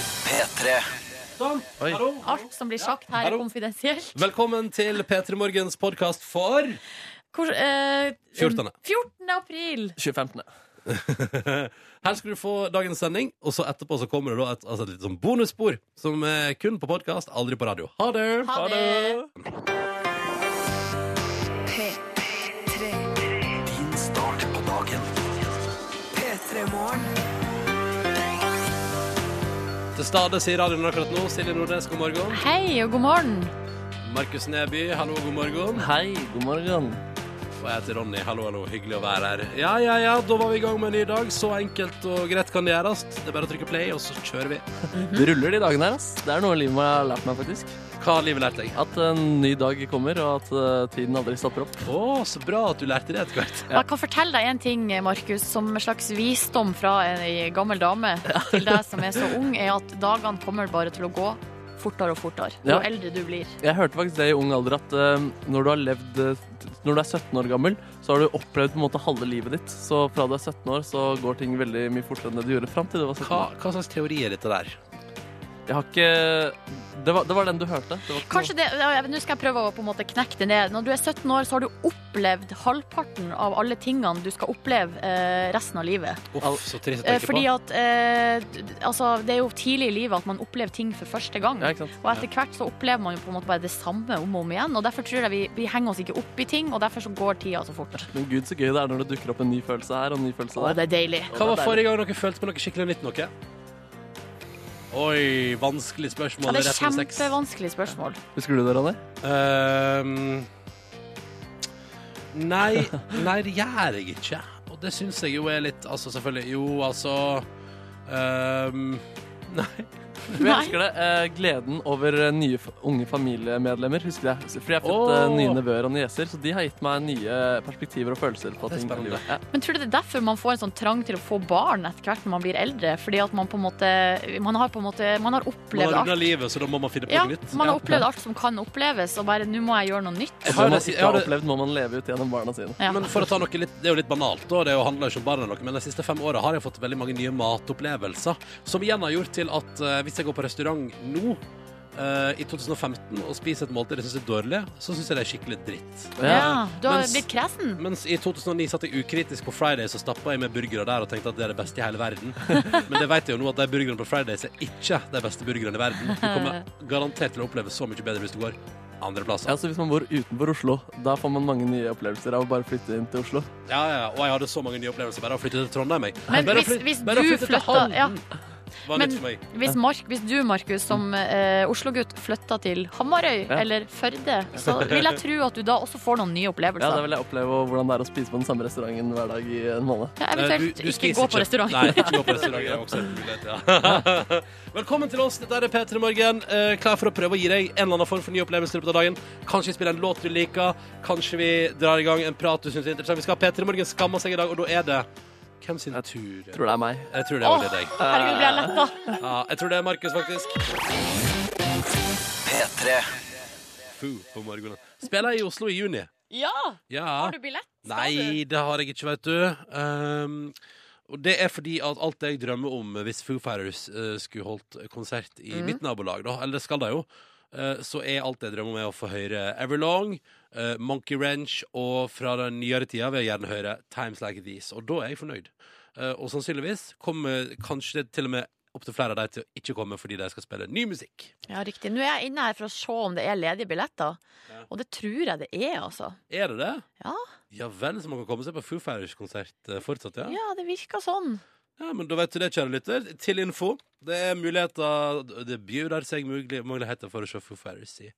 P3. Sånn. Oi. Hallo. Alt som blir sagt her, Hallo. er konfidensielt. Velkommen til P3 Morgens podkast for Hvor, eh, 14.. 14. april. 2015. Her skal du få dagens sending, og så etterpå så kommer det da et, altså et litt sånn bonusspor. Som er kun på podkast, aldri på radio. Ha det! Ha det! Din start på dagen. Til stede sier radioen akkurat nå. Silje Nordnes, god morgen. Eh, Hei og god morgen. Markus Neby, hallo, god morgen. Hei, god morgen. Og jeg heter Ronny. Hallo, hallo. Hyggelig å være her. Ja, ja, ja, da var vi i gang med en ny dag. Så enkelt og greit kan det gjøres. Det er bare å trykke play, og så kjører vi. Det ruller de dagene her, ass. Det er noe livet mitt har lært meg, faktisk. Hva har livet lært deg? At en ny dag kommer, og at eh, tiden aldri stopper opp. Å, så bra at du lærte det etter hvert. Og Jeg kan fortelle deg en ting, Markus, som en slags visdom fra ei gammel dame til deg som er så ung, er at dagene kommer bare til å gå fortere og fortere jo Ja. eldre du blir. Jeg hørte faktisk det i ung alder at eh, når du har levd eh, Når du er 17 år gammel, så har du opplevd på en måte halve livet ditt. Så fra du er 17 år, så går ting veldig mye fortere enn det du gjorde fram til du var 17 Hva, år. hva slags teori er dette der? Jeg har ikke Det var, det var den du hørte. Det var ikke Kanskje det, ja, Nå skal jeg prøve å på en måte knekke det ned. Når du er 17 år, så har du opplevd halvparten av alle tingene du skal oppleve eh, resten av livet. Uff, så trist å Eh, tenke fordi på. at eh, d- altså, Det er jo tidlig i livet at man opplever ting for første gang. noe- Ja, ikke sant? Og etter hvert så opplever man jo på en måte bare det samme om og om igjen. Og derfor tror jeg vi, vi henger oss ikke opp i ting, og derfor så går tida så fort. Men gud, så gøy det er når det dukker opp en ny følelse her og en ny følelse Å, det der. er deilig. Hva var forrige gang dere følte på noe skikkelig nytt noe? Oi, Ja, vanskelig spørsmål. det er rett under seks. kjempevanskelig spørsmål. Husker du det, Ronny? Ehm, nei, nei, det gjør jeg ikke. Og det syns jeg jo er litt Altså, selvfølgelig Jo, altså ehm, Nei. Men Jeg husker det. Eh, gleden over eh, nye f- unge familiemedlemmer. husker jeg. Fordi jeg har fått Åh. eh, nye nevøer og nieser, så de har gitt meg nye perspektiver og følelser. på Det er ting. i spennende. livet. Ja. Men tror du det er derfor man får en sånn trang til å få barn etter hvert når man blir eldre? Fordi at man på en måte Man har, på en måte, man har Man opplevd har runda alt. livet, så da må man finne på Ja, noe nytt. man har opplevd alt som kan oppleves, og bare 'nå må jeg gjøre noe nytt'. Jeg Det har man det, ikke jeg har har det, opplevd, må man leve ut gjennom barna sine. Ja. men for å ta noe litt, Det er jo litt banalt, da. Det er jo- handler jo ikke om barn eller noe. Men de siste fem åra har jeg fått veldig mange nye matopplevelser. Som igjen har gjort til at eh, hvis jeg går på restaurant nå eh, i 2015 og spiser et måltid jeg syns er dårlig, så syns jeg det er skikkelig dritt. Ja, du har Mens- blitt kresen. Mens i 2009 satt jeg ukritisk på Fridays og stappa i meg burgere der og tenkte at det er det beste i hele verden. Men det vet jeg jo nå at de burgerne på Fridays er ikke de beste burgerne i verden. Du kommer garantert til å oppleve så mye bedre hvis du går andre Ja, plasser. så Hvis man bor utenfor Oslo, da får man mange nye opplevelser av å bare flytte inn til Oslo. Ja, ja, Og jeg hadde så mange nye opplevelser bare av å flytte til Trondheim. Jeg. Men bare å hvis- flytte- hvis bare å du flytte til flytta- Halden ja. var Men- nytt for meg. Hvis, Mark, hvis du, Markus, som eh, Oslo-gutt flytta til Hamarøy Ja. eller Førde, så vil jeg tro at du da også får noen nye Ja, Da opplevelser. vil jeg oppleve hvordan det er å spise på den samme restauranten hver dag i en måned. Ja, Eh, Eventuelt du- du ikke spiser gå på restaurant. Nei, ikke gå på restaurant det er også en mulighet, ja. Velkommen til oss. Dette er P3 Morgen. Eh, Klar for å prøve å gi deg en eller annen form for nye opplevelser i løpet av dagen. Kanskje vi spiller en låt du liker. Kanskje vi drar i gang en prat du syns er interessant. Vi skal ha P3 Morgen skamma seg i dag, og da er det Hvem sin tur? Tror det er meg. Jeg tror det var det deg. Herregud, blir jeg letta. Ja, jeg tror det er Markus, faktisk. P3. Fu på morgenen. Spiller i Oslo i juni. Ja! Ja. Har du billett? Skal du? Nei, det har jeg ikke, vet du. Ehm, og det er fordi at alt jeg drømmer om hvis Foo Fighters eh, skulle holdt konsert i Mhm. mitt nabolag, da, eller det skal de jo, eh, så er alt jeg drømmer om er å få høre Everlong, eh, Monkey Ranch, og fra den nyere tida vil jeg gjerne høre Times Like These. Og da er jeg fornøyd. Eh, og sannsynligvis kommer kanskje til og med opptil flere av de til å ikke komme fordi de skal spille ny musikk. Ja, riktig. Nå er jeg inne her for å se om det er ledige billetter. Og det tror jeg det er, altså. Er det det? Ja. Ja vel, så man kan komme seg på Foo Fighters-konsert eh, fortsatt, Ja, det virker sånn. Ja, men da vet du det, kjære lytter. Til info. Det er muligheter Det bjuder seg mugli- muligheter for å se Foo Fighters i,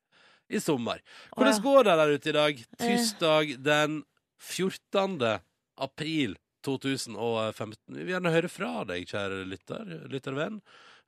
i sommer. Hvordan Å, ja. går det der ute i dag? Tirsdag den 14. april 2015. Vi vil gjerne høre fra deg, kjære lytter. Lyttervenn.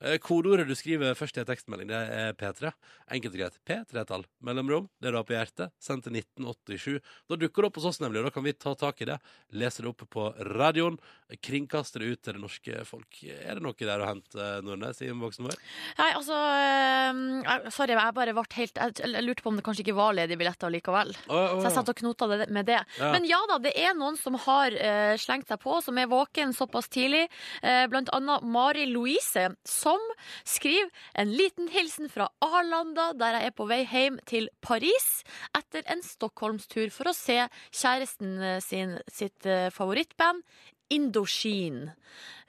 Eh, Kodeordet du skriver først i en tekstmelding, det er P3. Enkelt og greit. P3-tall. Mellomrom. Det du har på hjertet. Send til 1987. Da dukker det opp hos oss, nemlig. Og da kan vi ta tak i det. Lese det opp på radioen. Kringkaste det ut til det norske folk. Er det noe der å hente, Nordnes, i innboksen vår? Nei, altså øhm, jeg- Sorry, jeg bare ble helt jeg, jeg lurte på om det kanskje ikke var ledige billetter likevel. Så jeg satt og knota det- med det. Ja. Men ja da, det er noen som har eh, slengt seg på, som er våken såpass tidlig. Eh, blant annet Mari Louise, som skriver en liten hilsen fra Arlanda, der jeg er på vei hjem til Paris etter en Stockholmstur for å se kjæresten sin sitt eh, favorittband. Indoshin.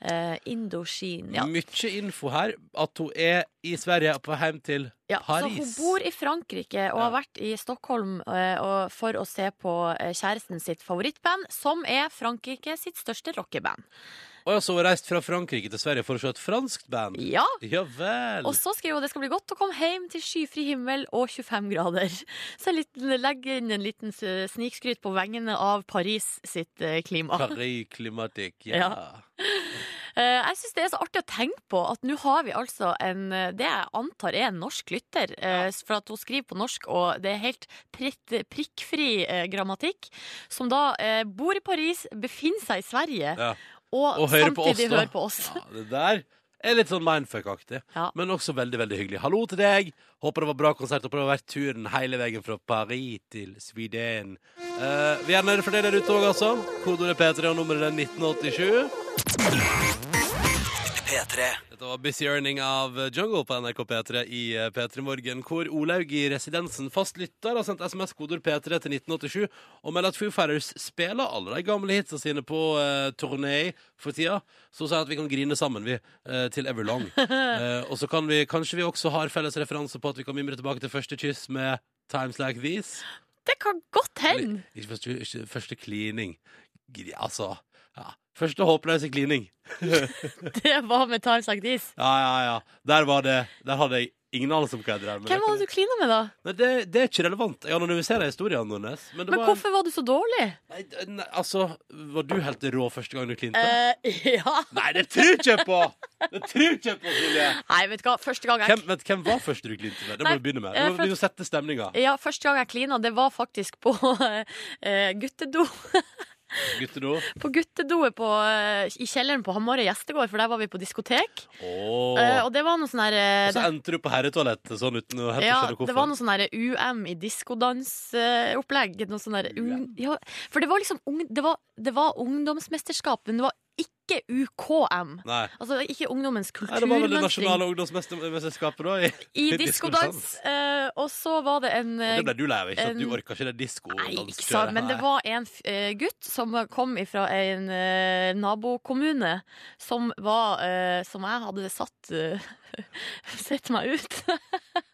Eh, Indoshin, ja. Mye info her. At hun er i Sverige på hjem til Ja, Paris. Så hun bor i Frankrike og har Ja. vært i Stockholm eh, og for å se på eh, kjæresten sitt favorittband, som er Frankrike sitt største rockeband. Og jeg har så reist fra Frankrike til Sverige for å se et franskt band. Ja, Ja vel. og så skriver hun det skal bli godt å komme hjem til skyfri himmel og 25 grader. Så jeg litt- legger inn en liten eh, snikskryt på vegne av Paris sitt eh, klima. Paris Climatic, ja. Eh, Jeg syns det er så artig å tenke på at nå har vi altså en eh, Det jeg antar er en norsk lytter, eh, for at hun skriver på norsk, og det er helt pritt, prikkfri eh, grammatikk, som da eh, bor i Paris, befinner seg i Sverige, Ja. og, Og hører på oss, samtidig da. hører på oss. ja. Det der er litt sånn mindfuck-aktig, Ja. men også veldig veldig hyggelig. Hallo til deg. Håper det var bra konsert. Håper det har vært turen hele veien fra Paris til Sweden. Eh, vi er nede for det der ute òg, altså. Kodeordet P3 og nummeret er 1987. P3 Dette var Busy Earning av Jungle på NRK P3 i eh, P3 Morgen, hvor Olaug i Residensen fast lytter har sendt SMS-koder P3 til 1987 og melder at Foo Fighters spiller alle de gamle hitsa sine på eh, turné for tida. Så hun sier at vi kan grine sammen, vi, eh, til Everlong. Eh, og så kan vi, kanskje vi også har felles referanse på at vi kan mimre tilbake til første kyss med Times Like These. Det kan godt hende! Ikke første, ikke første klining. Gri- Altså ja. Første håpløse klining. Det var med Times Like This. Ja, ja, ja. Der, var det, der hadde jeg ingen anelse om hva jeg drev med. Hvem var det du klina med, da? Nei, det, det er ikke relevant. Jeg anonymiserer historien, Nordnes. Men, det Men var hvorfor var du så dårlig? Nei, d- nei, altså, var du helt rå første gang du klinte? Eh, ja Nei, det tror ikke jeg på! Det tror ikke jeg på, Silje! Nei, vet du hva, første gang jeg Hvem, vent, hvem var første du klinte med? Det må Nei, vi begynne med. eh, Vi må, vi må sette stemninga. Ja, første gang jeg klina, det var faktisk på eh, guttedo. Gutter nå. på guttedoet på, eh, i kjelleren på Hamarøy gjestegård, for der var vi på diskotek. Åh. Eh, og det var noe sånn her eh, Og så endte du på herretoalettet sånn uten å det- helt ja, skjønne det hvorfor. var noe sånn her UM i diskodansopplegg. Noe sånn her ung- ja, for det var liksom ung, det var, det var ungdomsmesterskap, men det var ikke UKM. Nei. Altså ikke ungdommens Nei, det var vel det kulturmønstring nasjonale ungdomsmesterskapet, da. i- i diskodans. diskodans. Eh, og så var det en Og eh, det ble du lei av, ikke sant? Du en- orka ikke det disko Nei, ikke sant, men det var en f- eh, gutt som kom fra en eh, nabokommune som var eh, Som jeg hadde satt eh, Sett meg ut.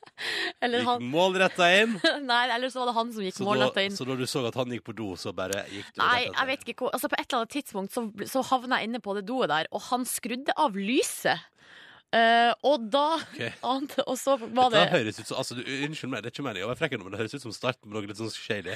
eller, Gikk han, målretta inn. nei, eller så var det han som gikk Så da, målretta inn. så da du så at han gikk på do, så bare gikk du Nei, jeg vet ikke hvor altså, På et eller annet tidspunkt så, bl- så havna jeg inne på det doet der, og han skrudde av lyset. Eh, og da Ok. ante- Og så var det det høres ut som, altså, du, Unnskyld meg, det er ikke meningen å være frekk, nå, men det høres ut som starten på noe litt sånn shady.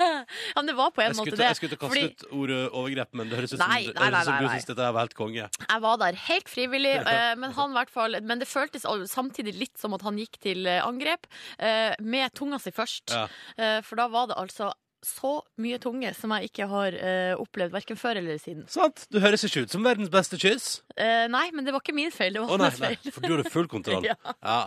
Ja, men det var på en Jeg skulle måte til det. jeg skulle til å kaste fordi- ut ordet overgrep, men det høres ut som, Nei, det nei, høres ut nei, som du nei, syns dette her var helt konge. Jeg var der helt frivillig, eh, men, han i hvert fall, men det føltes al- samtidig litt som at han gikk til eh, angrep eh, med tunga si først. Ja. Eh, For da var det altså så mye tunge som jeg ikke har eh, opplevd verken før eller siden. Sant? Du høres ikke ut som verdens beste kyss. Eh, nei, men det var ikke min feil. Det Å var nei, hans nei, feil. for du hadde full kontroll. Ja. Ja.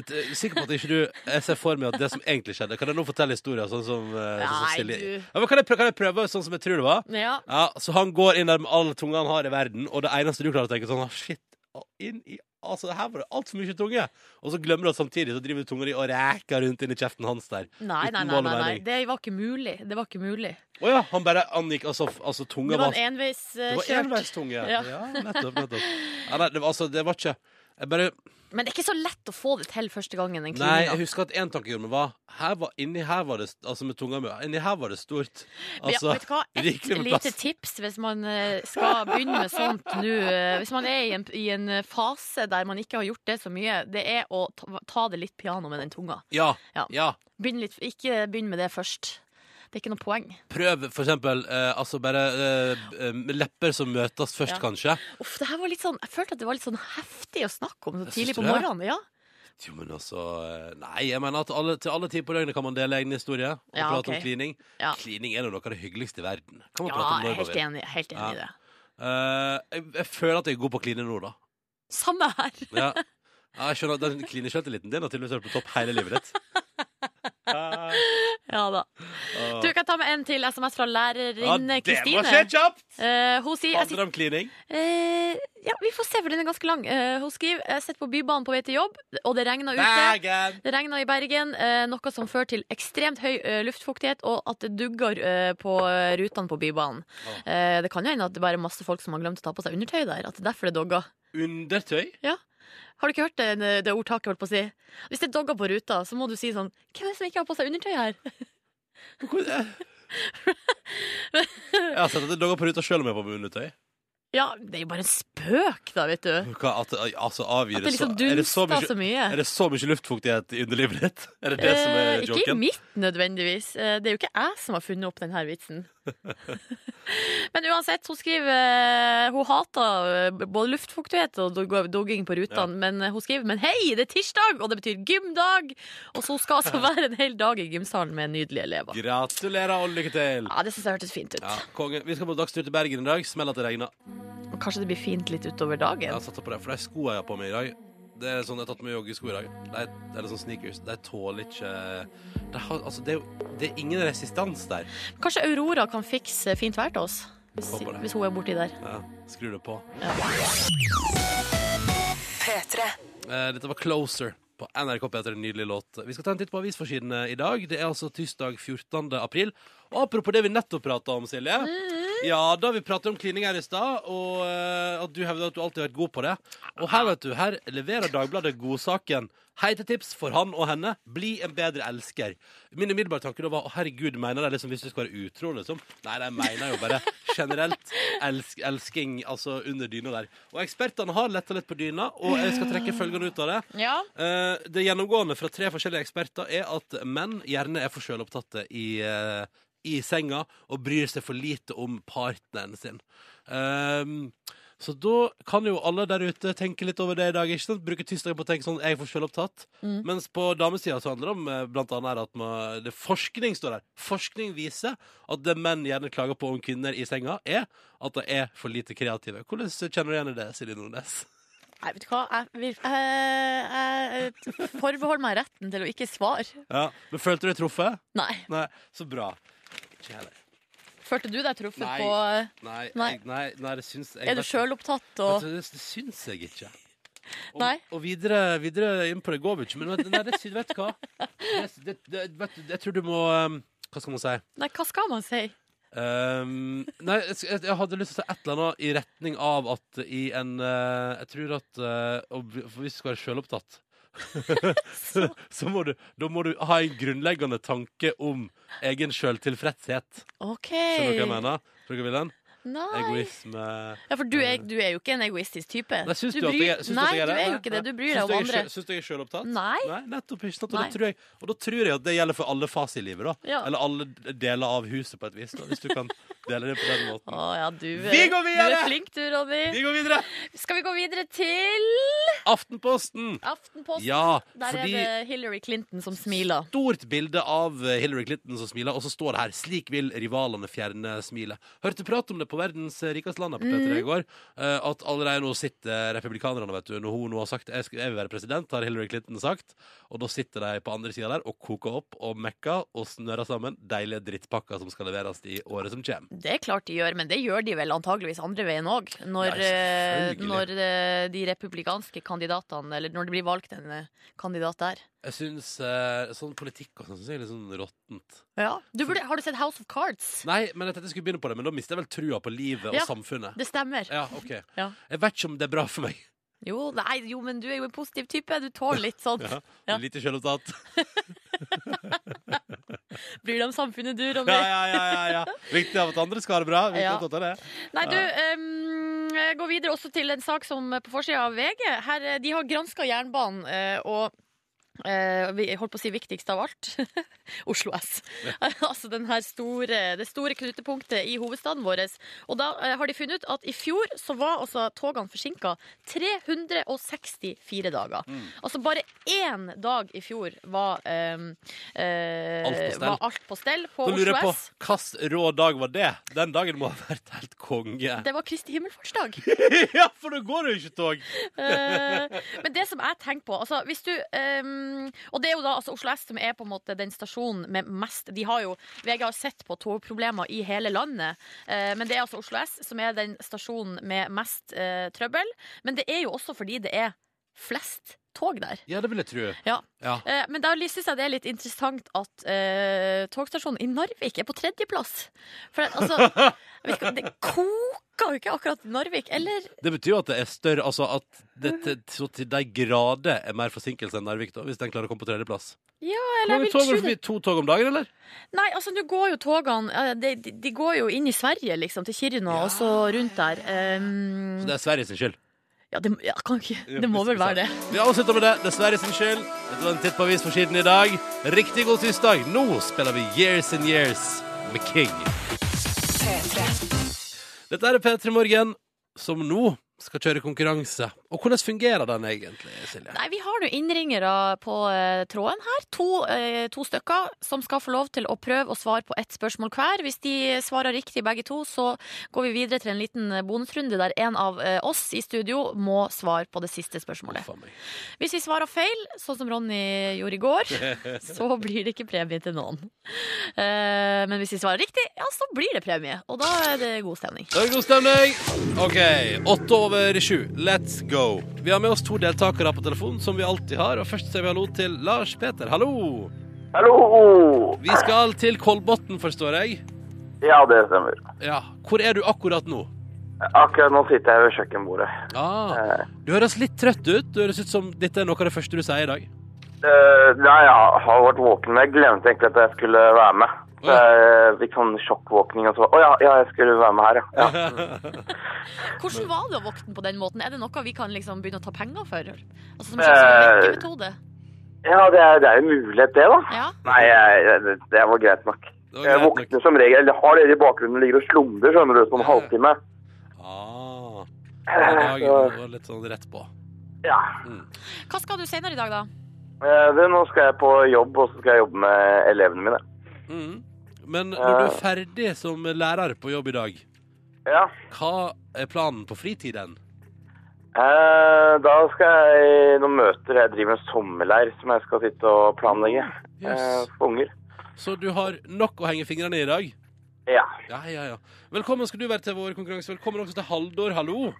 Et, eh, sikker på at ikke du Jeg ser for meg at det som egentlig skjedde Kan jeg nå fortelle historier sånn som, eh, sånn som Nei, Silje du. ja, men kan, jeg prøve, kan jeg prøve sånn som jeg tror det var? Ja. Ja, så han går inn der med all tunga han har i verden, og det eneste du klarer å tenke sånn ah, Shit, ah, inn i Altså, her var det altfor mye tunge. Og så glemmer du at samtidig så driver tunga di og reker rundt inn i kjeften hans der. Nei, nei, Uten nei, vold og nei, nei. mening. Det var ikke mulig. Det var ikke mulig. Å ja, han bare angikk altså, f- altså tunga Det var var en eh, Det var enveiskjørt. enveistunge. Ja. Ja. ja, nettopp, nettopp. Ja, nei, det var, altså, det var ikke jeg bare, Men det er ikke så lett å få det til første gangen. Den Nei, jeg klininga. husker at én tanke gjorde meg var, her var Inni her var det st- Altså med tunga mi Inni her var det stort. ja, Altså vet du hva? Et rikelig med lite plass. tips hvis man eh, skal begynne med sånt nå. eh, Hvis man er i en, i en eh, fase der man ikke har gjort det så mye, det er å ta, ta det litt piano med den tunga. Ja. Ja. ja. Begynn litt, ikke begynn med det først. Det er ikke noe poeng. Prøv for eksempel eh, altså bare eh, eh, lepper som møtes først, Ja. kanskje. Uff, det her var litt sånn, jeg følte at det var litt sånn heftig å snakke om så Jeg tidlig syns på du det? morgenen. Ja. Jo, men altså eh, Nei, jeg mener at alle, til alle tider på døgnet kan man dele egen historie og Ja, prate ok. om klining. Ja. Klining er jo noe av det hyggeligste i verden. Kan man ja, prate jeg om når er man helt vil. enig, helt enig i det. Eh, jeg, jeg føler at jeg er god på å kline nå, da. Samme her. Ja. Ja, jeg skjønner at Den klinesjøltilliten din har tydeligvis vært på topp hele livet ditt. Ah, Ja da. ah. Du kan ta med en til SMS fra Ja, lærerinne det må skje Kristine. kjapt! Eh, hun sier jeg sitter, Handler om klining. eh, Ja, vi får se, for den er ganske lang. Eh, hun skriver jeg sitter på Bybanen på vei til jobb, og det regner ute. Dagen! Det regna i Bergen, eh, noe som fører til ekstremt høy eh, luftfuktighet, og at det dugger eh, på eh, rutene på Bybanen. Å. Eh, det kan jo hende at det bare er masse folk som har glemt å ta på seg undertøy der. At det er derfor det dogger. Undertøy? Har du ikke hørt det, det ordtaket jeg holdt på å si? Hvis det dogger på ruta, så må du si sånn Hvem er det som ikke har på seg undertøy her? Hvor- eh. Jeg har sett at det dogger på ruta sjøl om jeg er på med undertøy. Ja, det er jo bare en spøk, da, vet du. Hva, at, altså, avgir At det liksom så, er, det så dunster så mye, mye. er det så mye luftfuktighet i underlivet ditt? Er det det som er Eh, Ikke i joken? mitt, nødvendigvis. Eh, Det er jo ikke jeg som har funnet opp denne vitsen. Men uansett, hun skriver eh, Hun hater eh, både luftfuktighet og dog- dogging på rutene, men eh, hun skriver Men hei, det er tirsdag, og det betyr gymdag! Og så skal altså være en hel dag i gymsalen med nydelige elever. Gratulerer og lykke til! Ja, Det syns jeg hørtes fint ut. Ja, konge. Vi skal på dagstur til Bergen i dag. Smell at det regner. Og Kanskje det blir fint litt utover Jeg dagen. har satt opp på det, for de skoene jeg har på meg i dag Det er sånn, jeg har tatt med joggesko i dag De, Eller sånn sneakers, de tåler ikke de har, altså, det, er jo, det er ingen resistans der Kanskje Aurora kan fikse fint vær til oss? Hvis, Håper det. hvis hun er borti der. ja, Skru det på Eh, Dette var Closer på NRK P3, en nydelig låt Vi skal ta en titt på avisforsidene i dag Det er altså tirsdag 14. april Og apropos det vi nettopp pratet om, Silje Ja, da vi pratet om klining her i sted Og eh, at du hevder at du alltid har vært god på det Og her vet du, her leverer Dagbladet godsaken Heitetips for han og henne Bli en bedre elsker Min umiddelbare tanke da var Å herregud, mener de liksom hvis du skal være utro liksom Nei, de mener jo bare generelt elsk, Elsking, altså under dyna der Og ekspertene har letta litt på dyna Og jeg skal trekke følgende ut av det Ja. Eh, Det gjennomgående fra tre forskjellige eksperter er at menn gjerne er for selvopptatte i, eh, i senga og bryr seg for lite om partneren sin. Ehm, så da kan jo alle der ute tenke litt over det i dag. ikke sant? Bruke tirsdagen på å tenke sånn 'jeg er for selvopptatt'. Mm. Mens på damesida så handler det om eh, blant annet her at man, det forskning står der. Forskning viser at det menn gjerne klager på om kvinner i senga, er at de er for lite kreative. Hvordan kjenner du igjen i det, Silje Nordnes? Nei, vet du hva? Jeg, vil, eh, jeg, jeg forbeholder meg retten til å ikke svare. Ja, men Følte du deg truffet? Nei. Nei, så bra. Ikke jeg heller. Følte Følte du deg truffet Nei. på Nei, Nei. jeg, nei, nei, det syns jeg Er du sjølopptatt Vet og du, Det, det syns jeg ikke. Og, Nei. og videre, videre inn på det går vi ikke, men vet- nei, det syns Vet du hva? Det, det, det, vet du, jeg tror du må um, Hva skal man si? Nei, hva skal man si? Um, nei, jeg, sk- jeg- jeg hadde lyst til å si et eller annet i retning av at i en eh, Jeg tror at eh, og vi- for Hvis du skal være sjølopptatt, så, så må du Da må du ha en grunnleggende tanke om egen sjøltilfredshet. OK. Skjønner du hva jeg mener? Tror du ikke jeg vil den? Nei. Egoisme Ja, for du er, du er jo ikke en egoistisk type. Nei, syns du, at bryr- jeg, syns du Nei, at jeg er du det? er jo ikke det. Du bryr deg Syns om andre. Jeg, er sjø- syns du jeg er sjølopptatt? Nei. nettopp ikke sant? Og, Nei. Da tror jeg, og da tror jeg at det gjelder for alle fas i livet, da. Ja. Eller alle d- deler av huset, på et vis. Da, hvis du kan dele det på den måten. Å ja, du, er- Vi går du er videre! flink du, Ronny. Vi går videre! Skal vi gå videre til Aftenposten! Aftenposten? Ja, Der fordi er det Hillary Clinton som smiler. Stort bilde av eh, Hillary Clinton som smiler, og så står det her 'Slik vil rivalene fjerne smilet'. Hørte prat om det på verdens rikeste land her på P3 i Mhm. går. eh, At allerede nå sitter republikanerne, vet du. Når hun nå har sagt 'jeg skal- jeg vil være president', har Hillary Clinton sagt. Og da sitter de på andre sida der og koker opp og mekker og snører sammen deilige drittpakker som skal leveres i året som kommer. Det er klart de gjør, men det gjør de vel antageligvis andre veien òg. Når, Ja, eh, selvfølgelig. når eh, de republikanske kandidatene, eller når det blir valgt en eh, kandidat der. Jeg syns eh, sånn politikk og sånn synes jeg er litt sånn råttent. Ja. Du burde, har du sett House of Cards? Nei, men jeg tenkte jeg skulle begynne på det, men da mister jeg vel trua på livet og Ja. samfunnet. Det stemmer. Ja, OK. Ja. Jeg vet ikke om det er bra for meg. Jo, nei, jo, men du er jo en positiv type. Du tåler litt sånn. Ja, Ja. Lite sjølopptatt. Bryr deg om samfunnet, du, Ronny. Ja, ja, ja, ja, ja. Viktig av at andre skal ha det bra. Viktig Ja. at du tar det. Nei, du, um, gå videre også til en sak som er på forsida av VG. Her, eh, de har granska jernbanen eh, og eh, vi- jeg holdt på å si viktigst av alt Oslo S. altså den her store, det store knutepunktet i hovedstaden vår. Og da eh, har de funnet ut at i fjor så var altså togene forsinka 364 dager. Mm. Altså bare én dag i fjor var, ehm, eh, Alt på stell. var alt på stell på Så lurer jeg Oslo på, S. hvilken rå dag var det? Den dagen må ha vært helt konge. Det var Kristi himmelfartsdag. ja, for da går det jo ikke tog! Eh, men det som jeg tenker på altså, Hvis du eh, Ehm, og det er jo da altså, Oslo S som er på en måte den stasjonen med mest De har jo VG har sett på togproblemer i hele landet, eh, men det er altså Oslo S som er den stasjonen med mest eh, trøbbel. Men det er jo også fordi det er flest tog der. Ja, det vil jeg tro. Ja. Ja. Eh, Men da syns jeg det er litt interessant at eh, togstasjonen i Narvik er på tredjeplass. For at, altså, jeg vet ikke, det koker jo ikke akkurat Narvik. Eller Det betyr jo at det er større Altså at det til, så til de grader er mer forsinkelse enn Narvik, da, hvis den klarer å komme på tredjeplass. eller Mange jeg vil tog tro går det. forbi to tog om dagen, eller? Nei, altså nå går jo togene eh, de, de, de går jo inn i Sverige, liksom, til Kiruna og så rundt der. Ehm, Så det er Sveriges skyld. ja, det, ja, kan ikke, det må hvis vel vi være det. Vi avslutter med det. Det er Sveriges skyld. Dette var en titt på avisforsiden i dag. Riktig god tirsdag. Nå spiller vi Years and Years med King. Dette er P3 Morgen, som nå skal kjøre konkurranse. Og hvordan fungerer den egentlig, Silje? Nei, Vi har nå innringere på eh, tråden her. To, eh, to stykker som skal få lov til å prøve å svare på ett spørsmål hver. Hvis de svarer riktig begge to, så går vi videre til en liten eh, bonusrunde der en av eh, oss i studio må svare på det siste spørsmålet. Å, faen meg. Hvis vi svarer feil, sånn som Ronny gjorde i går, så blir det ikke premie til noen. Eh, men hvis vi svarer riktig, ja, så blir det premie. Og da er det god stemning. Det er god stemning. OK, åtte over sju. Let's go. Vi har med oss to deltakere på telefon, som vi alltid har. Og først sier vi hallo til Lars Peter. Hallo. Hallo! Vi skal til Kolbotn, forstår jeg. Ja, det stemmer. Ja. Hvor er du akkurat nå? Akkurat nå sitter jeg ved kjøkkenbordet. Ah, Eh. du høres litt trøtt ut. Du høres ut som dette er noe av det første du sier i dag. Eh, nei, jeg har vært våken, men jeg glemte egentlig at jeg skulle være med. Så jeg fikk sånn sjokkvåkning og så Å ja, ja, jeg skulle være med her, ja. ja. Hvordan var det å våkne på den måten? Er det noe vi kan liksom begynne å ta penger for? Altså som en slags Eh, venkemetode? Ja, det er, det er jo mulighet, det, da. Ja. Nei, jeg, jeg- det, det var greit nok. Det var Jeg greit nok. våkner som regel eller har dere i bakgrunnen ligger og slumrer, skjønner du, sånn halvtime. Ah. I dag var litt sånn rett på. Ja. Hva skal du senere i dag, da? Eh, Du, nå skal jeg på jobb, og så skal jeg jobbe med elevene mine. Mm. Men når du er Eh. ferdig som lærer på jobb i dag, Ja. hva er planen på fritiden? Eh, da skal jeg i noen møter. Jeg driver en sommerleir som jeg skal sitte og planlegge. Eh, Yes. for unger. Så du har nok å henge fingrene i i dag? Ja. Ja, ja, ja. Velkommen skal du være til vår konkurranse. Velkommen også til Haldor, hallo.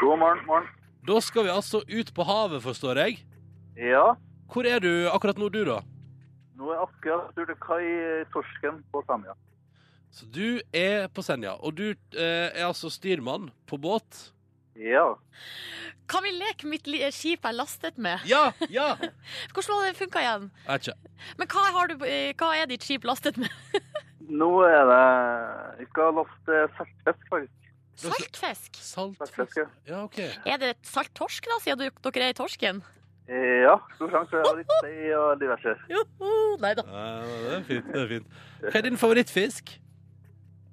God morgen. morgen. Da skal vi altså ut på havet, forstår jeg. Ja, Hvor er du akkurat nå, du, da? nå er akkurat tur til kai eh, Torsken på Senja. Så du er på Senja, og du eh, er altså styrmann på båt. Ja. Kan vi leke mitt li- skip er lastet med? Ja! Ja! Hvordan var det funka igjen? Jeg vet ikke. Men hva, har du, eh, hva er ditt skip lastet med? Nå er det Vi skal laste saltfisk, faktisk. Saltfisk? Saltfisk. Saltfisk, ja. Ja, OK. Er det salttorsk, da, siden du- dere er i torsken? Eh, Ja, stor sjanse for å ha litt sei og diverse. Joho! Nei da. det er fint. det er fint. Hva er din favorittfisk?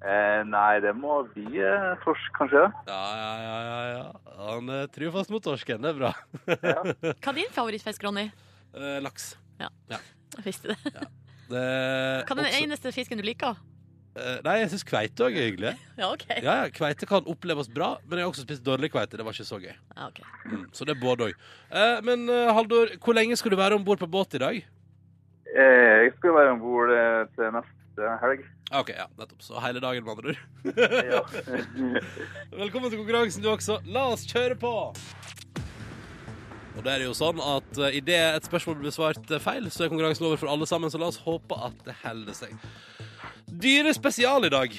Eh, Nei, det må bli eh, torsk, kanskje. Ja, ja, ja. ja, ja. Han eh, trufast mot torsken. Det er bra. Hva er din favorittfisk, Ronny? Eh, laks. Jeg visste det. Det, Hva er den også- eneste fisken du liker? eh, nei, jeg syns kveite òg er hyggelig. Ja, OK. Ja, ja, Kveite kan oppleves bra, men jeg har også spist dårlig kveite. Det var ikke så gøy. Ja, ok. Mm, så det er både òg. Eh, men eh, Haldor, hvor lenge skal du være om bord på båt i dag? Eh, Jeg skal være om bord til neste helg. Ah, OK, ja, nettopp. Så hele dagen, med andre ord. Ja. Velkommen til konkurransen, du også. La oss kjøre på! Og det er jo sånn at eh, idet et spørsmål blir besvart eh, feil, så er konkurransen over for alle sammen, så la oss håpe at det holder seg. Dyre spesial i dag.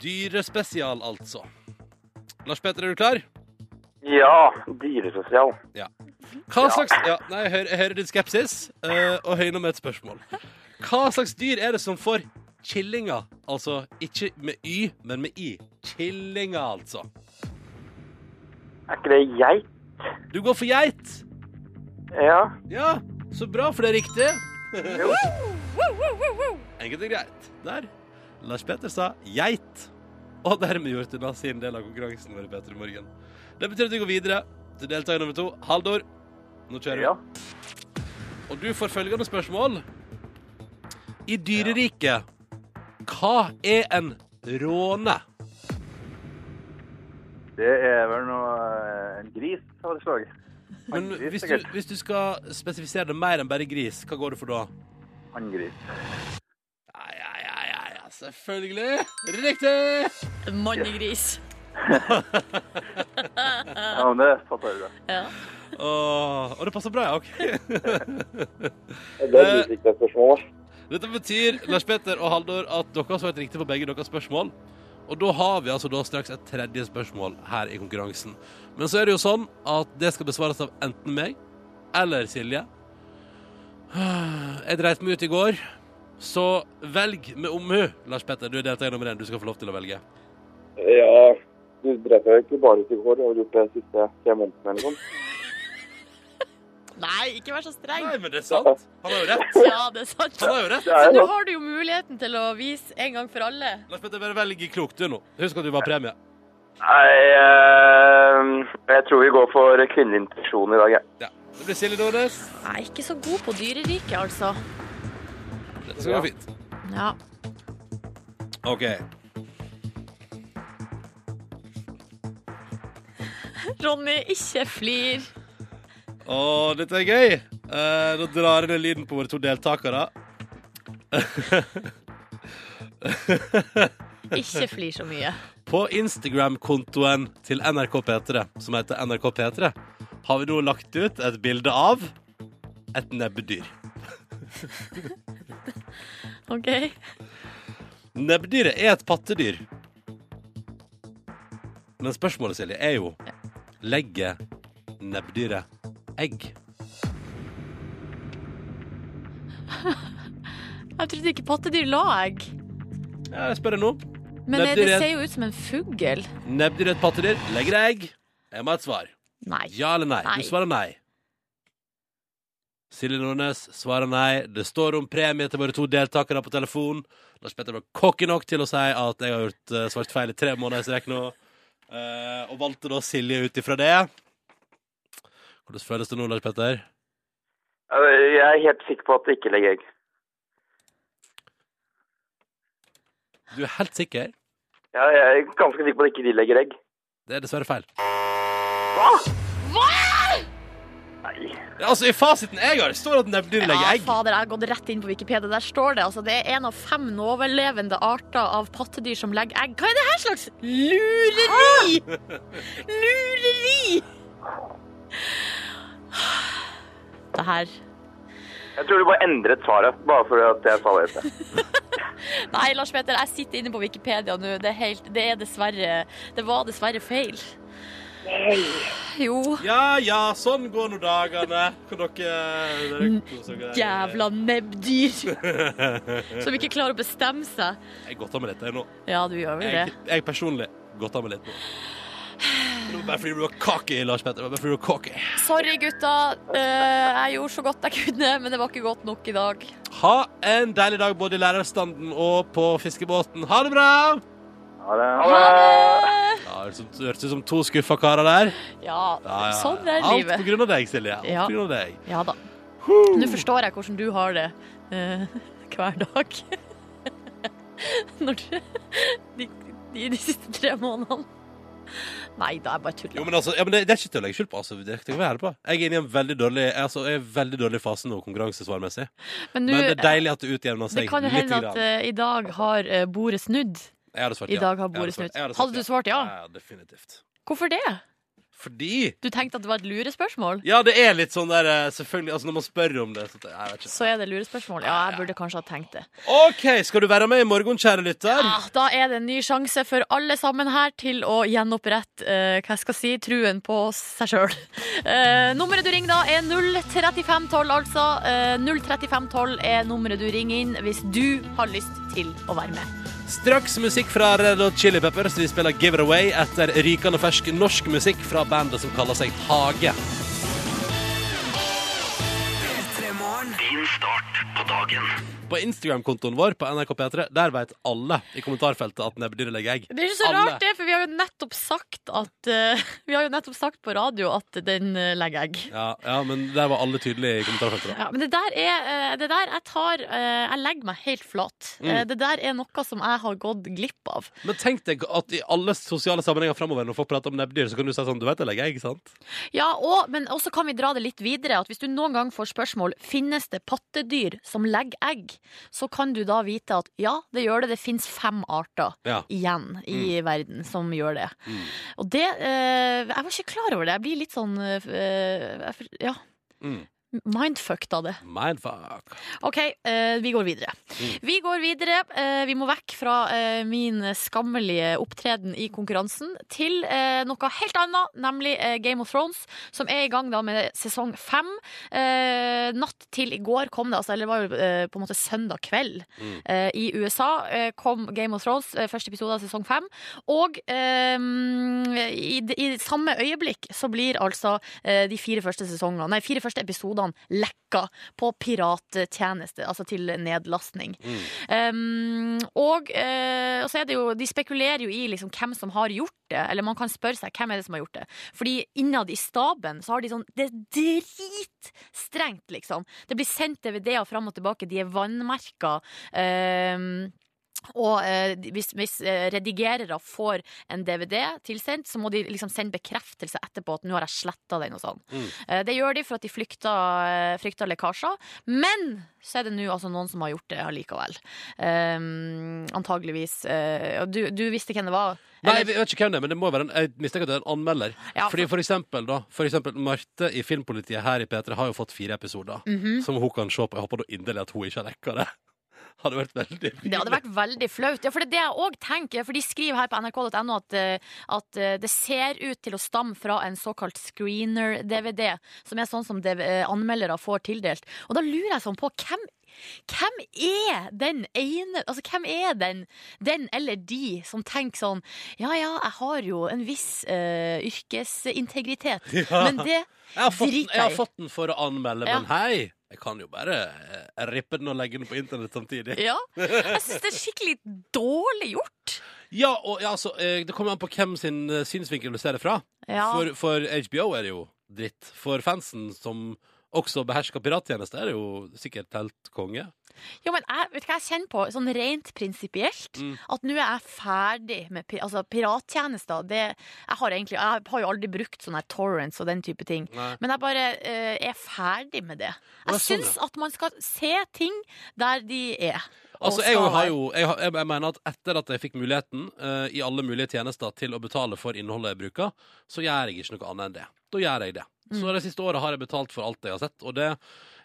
Dyre spesial, altså. Lars Petter, er du klar? Ja, dyresosial. Hva slags ja, Nei, jeg hører, jeg hører din skepsis, eh, og høyner med et spørsmål. Hva slags dyr er det som får killinger? Altså ikke med y, men med i. Killinger, altså. Er ikke det geit? Du går for geit. Ja. Ja, så bra, for det er riktig. Enkelt og greit. Der. Lars Petter sa geit. Og dermed gjort unna sin del av konkurransen vår i Petter i morgen. Det betyr at vi går videre til deltaker nummer to, Haldor. Nå kjører vi. Ja. Og du får følgende spørsmål. I dyreriket, hva er en råne? Det er vel noe eh, en gris av det slaget. Men Angris, hvis du, sikkert. hvis du skal spesifisere det mer enn bare gris, hva går det for da? Hanngris. Ja, ja, ja, ja, ja, selvfølgelig. Riktig! Mannegris. Ja, men det fatter du. Ja. Åh, og det passer bra, ja. ok. Det er et usikkert spørsmål. Dette betyr Lars Petter og Haldor, at dere har svart riktig på begge deres spørsmål. Og da har vi altså da straks et tredje spørsmål her i konkurransen. Men så er det jo sånn at det skal besvares av enten meg eller Silje. Jeg dreit meg ut i går, så velg med omhu. Lars Petter, du er deltaker nummer én. Du skal få lov til å velge. Ja, du dreit deg ikke bare ut i går. Du har gjort det de siste tre månedene eller noe. Nei, ikke vær så streng. Nei, men det er sant. Han har jo rett. Ja, det er sant. Han har jo rett. Det er Nå jo har du jo muligheten til å vise en gang for alle. Lars Petter, bare velg klokt du nå. Husk at du var premie. Nei, eh, jeg tror vi går for kvinnelig intuisjon i dag, jeg. Ja. Det blir Silje Nordnes. Jeg er ikke så god på dyreriket, altså. Det skal gå fint. Ja. OK. Ronny, ikke flir. Å, dette er gøy! Eh, da drar jeg ned lyden på våre to deltakere. Ikke flir så mye. På Instagram-kontoen til NRK P3, som heter NRK P3, har vi nå lagt ut et bilde av et nebbdyr. OK? Nebbdyret er et pattedyr. Men spørsmålet, Silje, er jo Legger nebbdyret egg? Jeg trodde ikke pattedyr la egg. Ja, jeg spør deg nå. Men eh, det, Nebbdyr det er- ser jo ut som en fugl. Nebbdyr er et pattedyr. Legger det egg? Jeg må ha et svar. Nei. Ja eller nei? Nei. Du svarer nei. Silje Nordnes svarer nei. Det står om premie til våre to deltakere på telefon. Lars Petter var cocky nok til å si at jeg har gjort eh, svart feil i tre måneder i strekk nå. Eh, og valgte da Silje ut ifra det. Hvordan føles det nå, Lars Petter? Eh, Jeg er helt sikker på at det ikke legger egg. Du er helt sikker? Ja, jeg er ganske sikker på at ikke de legger egg. Det er dessverre feil. Nei. Ja, altså, I fasiten jeg har, står det at nebbdyr legger Ja, egg. fader, jeg har gått rett inn på Wikipedia. Der står det altså det er en av fem nåvelevende arter av pattedyr som legger egg. Hva er det her slags lureri?! Lureri! Det her Jeg tror du bare endret svaret, bare fordi at jeg sa det. etter. Nei, Lars Peter, jeg sitter inne på Wikipedia nå. Det er, helt, det er dessverre Det var dessverre feil. Jo. Ja ja, sånn går nå dagene. Kan dere, dere kose dere? Mm. Jævla nebbdyr som ikke klarer å bestemme seg. Jeg godtar meg litt, jeg nå. Ja, du gjør vel det. Jeg, jeg personlig godt av meg litt nå. Det var bare fordi du var cocky, Lars Petter. Det var bare fordi du var cocky. Sorry, gutta. Eh, jeg gjorde så godt jeg kunne, men det var ikke godt nok i dag. Ha en deilig dag både i lærerstanden og på fiskebåten. Ha det bra! Ja, det Ha det! Ja, det hørtes ut- det hørtes ut som to skuffa karer der. Ja, Ja, ja. sånn er Alt på livet. grunn av deg, Silje. Alt Ja. på grunn av deg. Ja da. Nå forstår jeg hvordan du har det eh, hver dag. Når du de, de, de siste tre månedene. Nei da, jeg bare Jo, tuller. men altså, ja, men det, det er ikke til å legge skjul på. Altså, det det kan vi være på. Jeg er inne i en veldig dårlig, altså, jeg er i en veldig dårlig fase nå, konkurransesvarmessig. Men nå, Men det er deilig at det utjevner det seg kan jo litt. hende at grann. eh, i dag har eh, bordet snudd. Jeg hadde svart I ja. dag har Jeg bordet hadde svart- snudd. jeg hadde Hadde svart du svart ja? Ja, definitivt. Hvorfor det? Fordi Du tenkte at det var et lurespørsmål? Ja, det er litt sånn der eh, Selvfølgelig, altså når man spør om det så, det- Jeg vet ikke Så er det lurespørsmål? Ja, jeg burde kanskje ha tenkt det. Ok, skal du være med i morgen, kjære lytter? Ja, Ah, da er det en ny sjanse for alle sammen her til å gjenopprette eh, hva jeg skal si, truen på seg sjøl. nummeret du ringer da, er 03512, altså. Eh, 03512 er nummeret du ringer inn hvis du har lyst til å være med. Straks musikk fra Red Hot Chili Peppers Vi spiller Give It Away etter rykende fersk norsk musikk Fra bandet som kaller seg Hage Din start. På Instagram-kontoen vår på NRK P3 Der vet alle i kommentarfeltet at nebbdyret legger egg. Det er ikke så Alle. rart, det, for vi har jo nettopp sagt at eh, Vi har jo nettopp sagt på radio at den eh, legger egg. Ja, ja, men der var alle tydelige i kommentarfeltet. da Ja, men det der er eh, Det der jeg tar eh, Jeg legger meg helt flat. Mm. Eh, Det der er noe som jeg har gått glipp av. Men tenk deg at i alle sosiale sammenhenger framover når folk prater om nebbdyr, så kan du si sånn Du vet jeg legger egg, sant? Ja, og, men også kan vi dra det litt videre. At hvis du noen gang får spørsmål Finnes det pattedyr som legger egg, så kan du da vite at ja, det gjør det. Det fins fem arter Ja. igjen i verden som gjør det. Og det eh, Jeg var ikke klar over det. Jeg blir litt sånn eh, jeg, Ja. Mm. Mindfucked av det. Mindfuck. OK, eh, vi går videre. Vi går videre. Eh, vi må vekk fra eh, min skammelige opptreden i konkurransen til eh, noe helt annet, nemlig eh, Game of Thrones, som er i gang da med sesong fem. Eh, natt til i går kom det, altså, eller det var jo eh, på en måte søndag kveld Mm. eh, i USA, eh, kom Game of Thrones, eh, første episode av sesong fem. Og eh, i, d- i samme øyeblikk så blir altså eh, de fire første sesongene, nei, fire første episodene lekka på pirattjeneste, altså til nedlastning. Um, og eh, og så er det jo, de spekulerer jo i liksom hvem som har gjort det, eller man kan spørre seg hvem er det som har gjort det. Fordi innad i staben så har de sånn, det er dritstrengt liksom. Det blir sendt DVD-er fram og tilbake, de er vannmerka. Um, og eh, hvis, hvis eh, redigerere får en DVD tilsendt, så må de liksom sende bekreftelse etterpå at nå har jeg sletta den og sånn. Eh, det gjør de for at de flykter, eh, frykter lekkasjer. Men så er det nå altså noen som har gjort det allikevel. Um, antageligvis. eh, og du, du visste hvem det var? Nei, Eller- jeg vet ikke hvem det er, men det må være en, jeg mistenker at det er en anmelder. Ja, Fordi for eksempel, da, for eksempel Marte i Filmpolitiet her i P3 har jo fått fire episoder Mhm. som hun kan se på. Jeg håper da inderlig at hun ikke rekker det. Hadde vært veldig Det hadde vært veldig flaut. Ja, for det er det jeg òg tenker. For de skriver her på nrk.no at, eh, at eh, det ser ut til å stamme fra en såkalt screener-DVD, som er sånn som DV eh, anmeldere får tildelt. Og da lurer jeg sånn på hvem hvem er den ene Altså, hvem er den, den eller de som tenker sånn Ja, ja, jeg har jo en viss eh, yrkesintegritet, men det Jeg har fått, Drit jeg har deg. fått den for å anmelde, Ja. men hei, jeg kan jo bare eh, rippe den og legge den på internett samtidig. Ja. Jeg syns det er skikkelig dårlig gjort. Ja, og ja, altså, eh, det kommer an på hvem sin eh, synsvinkel du ser det fra. Ja. For, for HBO er det jo dritt. For fansen som også behersker pirattjenester, er det jo sikkert helt konge. Jo, men jeg, vet du hva jeg kjenner på, sånn rent prinsipielt, Mm. at nå er jeg ferdig med pi- altså, pirattjenester. Det, jeg, har egentlig, jeg har jo aldri brukt sånne her torrents og den type ting. Nei. Men jeg bare eh, er ferdig med det. Ja, Jeg sånn, syns at man skal se ting der de er. og Altså, jeg, skal har være. jo, jeg, har- jeg, jeg mener at etter at jeg fikk muligheten eh, i alle mulige tjenester til å betale for innholdet jeg bruker, så gjør jeg ikke noe annet enn det. Da gjør jeg det. Så Mm. det siste året har jeg betalt for alt jeg har sett, og det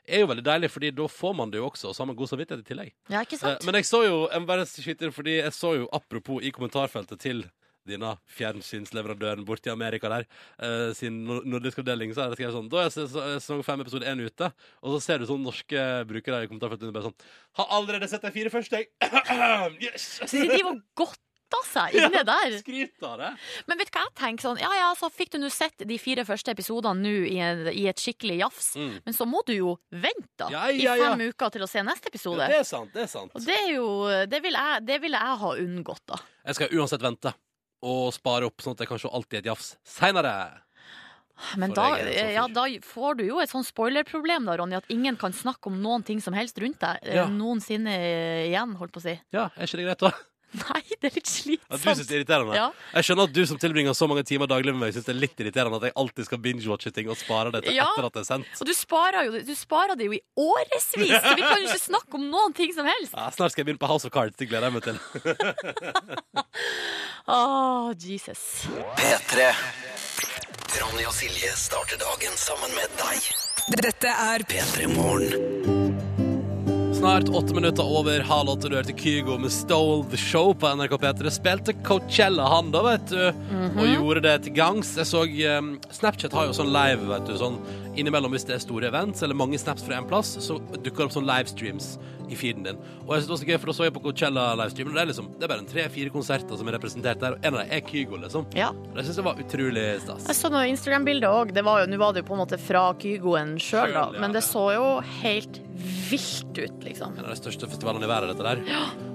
er jo veldig deilig, fordi da får man det jo også, og så har man god samvittighet i tillegg. Ja, ikke sant? Eh, Men jeg så jo, jeg må bare skyte inn, fordi jeg så jo, apropos i kommentarfeltet til dine fjernsynsleverandøren borti Amerika der, eh, sin nor- nordiske avdeling, så er det skrevet sånn Da er ses- sesong fem episode én ute, og så ser du sånn norske brukere i kommentarfeltet under bare sånn Har allerede sett de fire første, jeg. yes! Så de driver og godter seg inne der. Skryt av det. Men vet du hva jeg tenker sånn? Ja, ja, så fikk du nå sett de fire første episodene nå i, en- i et skikkelig jafs. Mm. Men så må du jo vente da, Ja, ja, i ja. fem uker til å se neste episode. Ja, det er sant. Det er sant. Og det er jo Det ville jeg, det vil jeg ha unngått, da. Jeg skal uansett vente. Og spare opp, sånn at jeg kan se alt i et jafs seinere. Men For da, jeg er en sånn fyr. ja, da får du jo et sånn spoilerproblem, da, Ronny. At ingen kan snakke om noen ting som helst rundt deg eh, Ja. noensinne igjen, holdt på å si. Ja, er ikke det greit, da? Nei, det er litt Ja, du synes slitsomt. det er irriterende? Ja. Jeg skjønner at du som tilbringer så mange timer daglig med meg, synes det er litt irriterende at jeg alltid skal binge-watche ting og spare det til Ja. etter at det er sendt. Og du sparer, jo, du sparer det jo i årevis! Så vi kan jo ikke snakke om noen ting som helst! Ja, snart skal jeg begynne på House of Cards. Det gleder jeg meg til. Åh, Jesus. P3. Ronny og Silje starter dagen sammen med deg. Dette er P3 Morgen. Snart åtte minutter over halv åtte. Du hørte Kygo med Stole the Show på NRK P3. Spilte Coachella, han da, vet du. Og gjorde det til gangs. Jeg så um, Snapchat har jo sånn live, vet du. Sånn innimellom hvis det er store events eller mange snaps fra en plass, så dukker det opp sånn livestreams i feeden din. Og jeg synes det var så gøy, for da så jeg på Coachella livestreamen, og det er liksom Det er bare en tre-fire konserter som er representert der, og en av dem er Kygo, liksom. Ja. Og Det syns jeg var utrolig stas. Jeg så noe Instagram-bilde òg. Nå var det jo på en måte fra Kygoen sjøl, da. Selv, ja. Men det så jo helt vilt ut, liksom. En av de største festivalene i verden, dette der.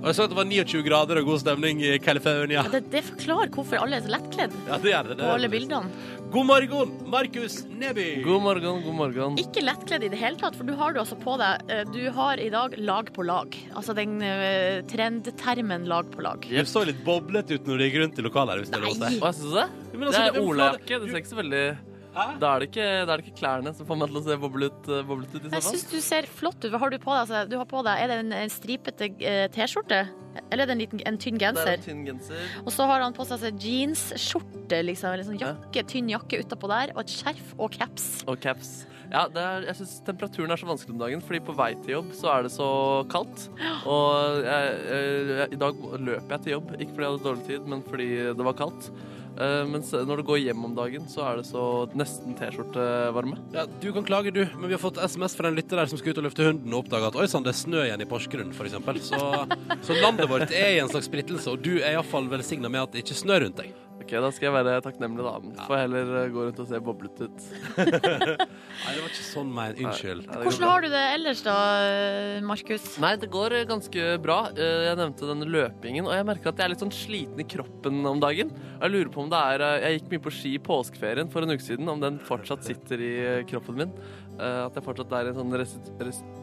Og jeg så at det var 29 grader og god stemning i California. Ja, Det, det forklarer hvorfor alle er så lettkledd Ja, det er det. det på er alle det. bildene. God morgen, Markus Neby. God morgen, god morgen. Ikke lettkledd i det hele tatt, for du har du altså på deg eh, Du har i dag lag på lag. Altså den eh, trendtermen lag på lag. Du så litt boblet ut når du gikk rundt i lokalet her. hvis det er lov til. Nei. Hva syns du? det? Ja, men Det altså, er jo olajakke. flott. Det ser ikke så veldig Hæ? Da er det ikke, da er det ikke klærne som får meg til å se boblet, ut- boblet ut. i så Jeg fall. syns du ser flott ut. Hva har du på deg? Altså, du har på deg er det en, en stripete eh, T-skjorte? Eller er det en, liten, en tynn Det er en genser? tynn genser. Og så har han på seg altså, jeansskjorte, liksom. Eller sånn jakke, tynn jakke utapå der, og et skjerf og caps. Og caps. Ja, det er, jeg syns temperaturen er så vanskelig om dagen, fordi på vei til jobb så er det så kaldt. Og jeg, jeg, i dag løp jeg til jobb, ikke fordi jeg hadde dårlig tid, men fordi det var kaldt. Eh, mens når du går hjem om dagen, så er det så nesten T-skjortevarme. Ja, du kan klage, du, men vi har fått SMS fra en lytter der som skal ut og løfte hunden og oppdage at oi sann, det er snø igjen i Porsgrunn, for eksempel. Så, så landet vårt er i en slags splittelse, og du er iallfall velsigna med at det ikke snør rundt deg. Ok, da skal jeg være takknemlig, da. Men får jeg heller eh, gå rundt og se boblet ut. Nei, det var ikke sånn meint. Unnskyld. Ja, det går Hvordan bra. har du det ellers da, eh, Markus? Nei, det går eh, ganske bra. Eh, Jeg nevnte denne løpingen, og jeg merker at jeg er litt sånn sliten i kroppen om dagen. Og Jeg lurer på om det er eh, Jeg gikk mye på ski i påskeferien for en uke siden, om den fortsatt sitter i eh, kroppen min. Eh, At jeg fortsatt er i en sånn restperiode.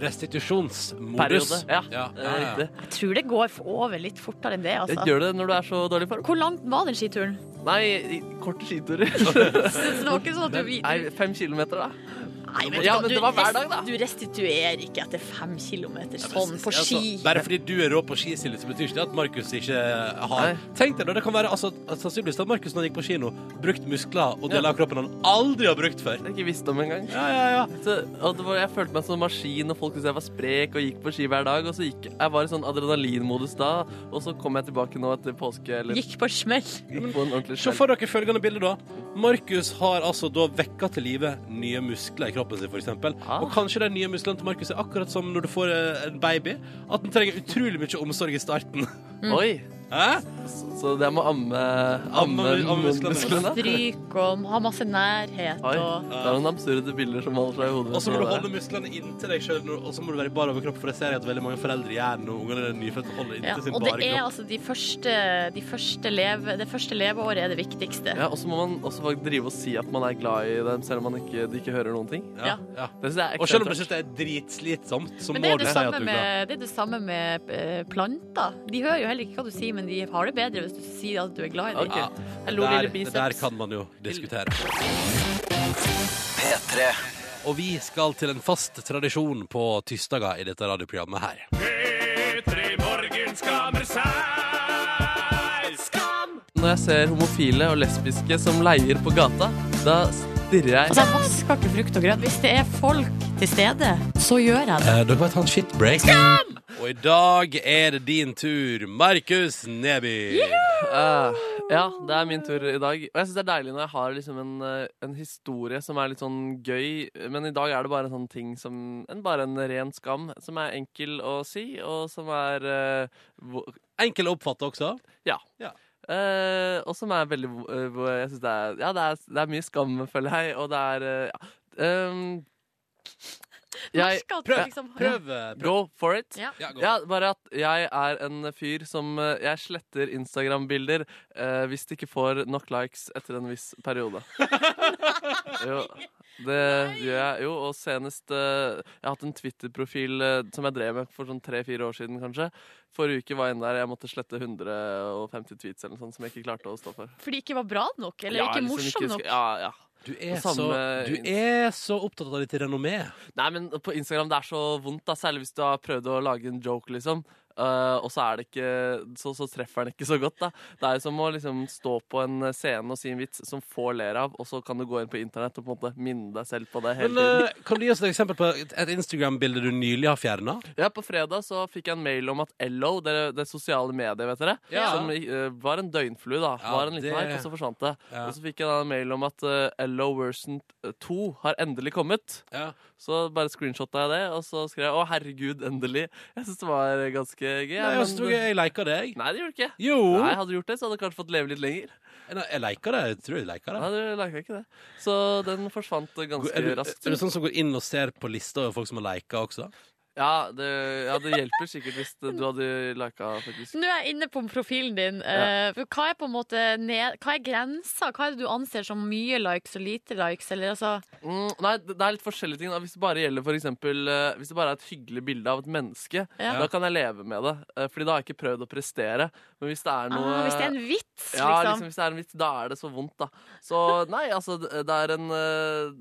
Restitusjonsmodus. Ja, ja, eh, ja, ja. riktig. Eh, Jeg tror det går over litt fortere enn det, altså. Gjør det når du er så dårlig i form? Hvor langt var den skituren? Nei, i- korte skiturer. Så det var ikke sånn at du Nei, fem kilometer, da. Nei, vet du Ja, hva, men du det var hver dag, rest- da. Du restituerer ikke etter fem kilometer sånn på Altså, ski. bare fordi du er rå på ski, Silje, så betyr ikke det at Markus ikke eh, har Nei. Tenk deg da, det kan være altså, at sannsynligvis at Markus når han gikk på kino, brukt muskler og deler av kroppen han aldri har brukt før. Jeg har ikke visst om engang. Ja, ja, ja. Så, og det var, jeg følte meg som en maskin, og folk syntes jeg var sprek og gikk på ski hver dag. Og så gikk, jeg var i sånn adrenalinmodus da, og så kom jeg tilbake nå etter påske. Eller, Gikk på smell. Gikk på en ordentlig Se smell. for dere følgende bilde, da. Markus har altså da vekka til live nye muskler i kroppen sin, f.eks. eksempel Ah. Og kanskje de nye musklene til Markus er akkurat som når du får eh, en baby. At den trenger utrolig mye omsorg i starten. Oi! Hæ? Så det er med amme... Amme- ammemusklene. ammemusklene? Stryk og ha masse nærhet Oi, og det er noen absurde bilder som holder seg i hodet. Og så må du mitt nå, holde musklene inntil deg sjøl, og så må du være i bar overkropp, for det ser jeg at veldig mange foreldre gjør når ungene er nyfødte, holder inntil ja, sin og det bare er kropp. altså de første, de første leve, Det første leveåret er det viktigste. Ja, og så må man også faktisk drive og si at man er glad i dem, selv om man ikke, de ikke hører noen ting. Ja, ja. Det synes jeg er Og selv om du ekstremt syns det er dritslitsomt, så Men det må er du det, si at samme du er glad. med, det er det samme med eh, planter. De hører jo heller ikke hva du sier, men de har det bedre hvis du sier at du er glad i dem. Ok. Hallo, der, lille biceps. det der kan man jo diskutere. P3. Og vi skal til en fast tradisjon på tirsdager i dette radioprogrammet her. Når jeg ser homofile og lesbiske som leier på gata, da stirrer jeg Altså, jeg vasker ikke frukt og grønt. Hvis det er folk til stede, så gjør jeg det. Eh, dere må ta en shitbreak. Og i dag er det din tur, Markus Neby. Eh, ja, det er min tur i dag. Og jeg syns det er deilig når jeg har liksom en, eh, en historie som er litt sånn gøy, men i dag er det bare en sånn ting som en, Bare en ren skam, som er enkel å si, og som er eh, vo- Enkel å oppfatte også. Ja. Ja. Eh, og som er veldig vo- eh, hvor Jeg synes det er Ja, det er, det er mye skam, føler jeg, og det er eh, ja. Um, jeg Merker at prøv- du liksom- Prøv. eh, prøv. Go for it. Ja. Ja, gå. Ja, bare at jeg er en fyr som eh, Jeg sletter Instagram-bilder eh, hvis det ikke får nok likes etter en viss periode. jo, det gjør jeg jo. Og senest eh, Jeg har hatt en Twitter-profil eh, som jeg drev med for sånn tre-fire år siden, kanskje. Forrige uke var jeg inne der jeg måtte slette 150 tweets eller noe sånt som jeg ikke klarte å stå for. Fordi det ikke var bra nok, eller Ja, ikke liksom morsom sk- nok. Ja, ja. Du er, Og samme- så, du er så opptatt av ditt renommé. Nei, men på Instagram det er så vondt, da, særlig hvis du har prøvd å lage en joke, liksom. Eh, og så, er det ikke, så, så treffer den ikke så godt. da Det er jo som å liksom stå på en scene og si en vits som få ler av, og så kan du gå inn på internett og på en måte minne deg selv på det hele Men tiden. eh, Kan du gi oss et eksempel på et et Instagram-bilde du nylig har fjerna? Ja, På fredag så fikk jeg en mail om at Ello, det, det sosiale mediet, vet dere Ja. Som eh, var en døgnflue, da. Ja, var en det- liten hype, og så forsvant det. Ja. Og så fikk jeg da en mail om at eh, Ello version 2 har endelig kommet. Ja. Så bare screenshotta jeg det, og så skrev jeg 'Å, herregud, endelig'. Jeg synes det var ganske ganske gøy. Nei, jeg tror jeg jeg leker det, jeg. Nei, det gjorde du ikke. Jo! Nei, Hadde du gjort det, så hadde du kanskje fått leve litt lenger. Nei, jeg leker det. Jeg tror jeg leker Nei, det. du lika ikke det. Så den forsvant ganske Er du, raskt. er du sånn som går inn og ser på lista over folk som har leika også? Ja, det, ja, det hjelper sikkert hvis det- du hadde lika, faktisk. Nå er jeg inne på profilen din. Eh, for hva er på en måte ned, Hva er grensa? Hva er det du anser som mye likes og lite likes? Eller altså Mm, nei, det det er litt forskjellige ting. Da. Hvis det bare gjelder for eksempel, eh, Hvis det bare er et hyggelig bilde av et menneske, Ja. da kan jeg leve med det. Eh, Fordi da har jeg ikke prøvd å prestere. Men hvis det er noe ah, Hvis det er en vits, ja, liksom. liksom, hvis det er en vits, da er det så vondt, da. Så nei, altså, det det er en eh,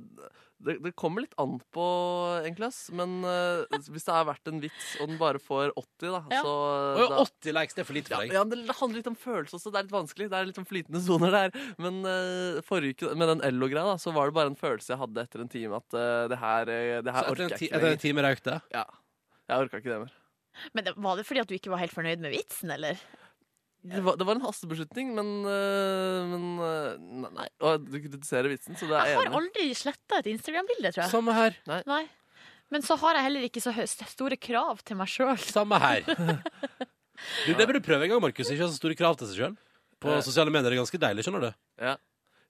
det, det kommer litt an på, egentlig, ass. Men eh, hvis det er verdt en vits, og den bare får 80, da, Ja. så Å ja, da, 80 likes, det er for lite ja, for deg. ja, men Det handler litt om følelse også. Det er litt vanskelig. Det er litt om flytende soner der. Men eh, forrige uke, med den Ello-greia, da, så var det bare en følelse jeg hadde etter en time, at eh, det her, eh, det Så her etter en orker jeg ti- ikke etter en lenger. time røyk det. Ja. Jeg orka ikke det mer. Men det, var det fordi at du ikke var helt fornøyd med vitsen, eller? Det var, det var en hastebeslutning, men, eh, men eh, Nei, nei. Og du kritiserer vitsen, så det er Jeg jeg har enig. i. aldri sletta et Instagram-bilde, tror jeg. Samme her. Nei. Men så har jeg heller ikke så hø- store krav til meg sjøl. Samme her. Du, det burde du prøve en gang, Markus. Ikke ha så store krav til seg sjøl. På Eh. sosiale medier er det ganske deilig, skjønner du.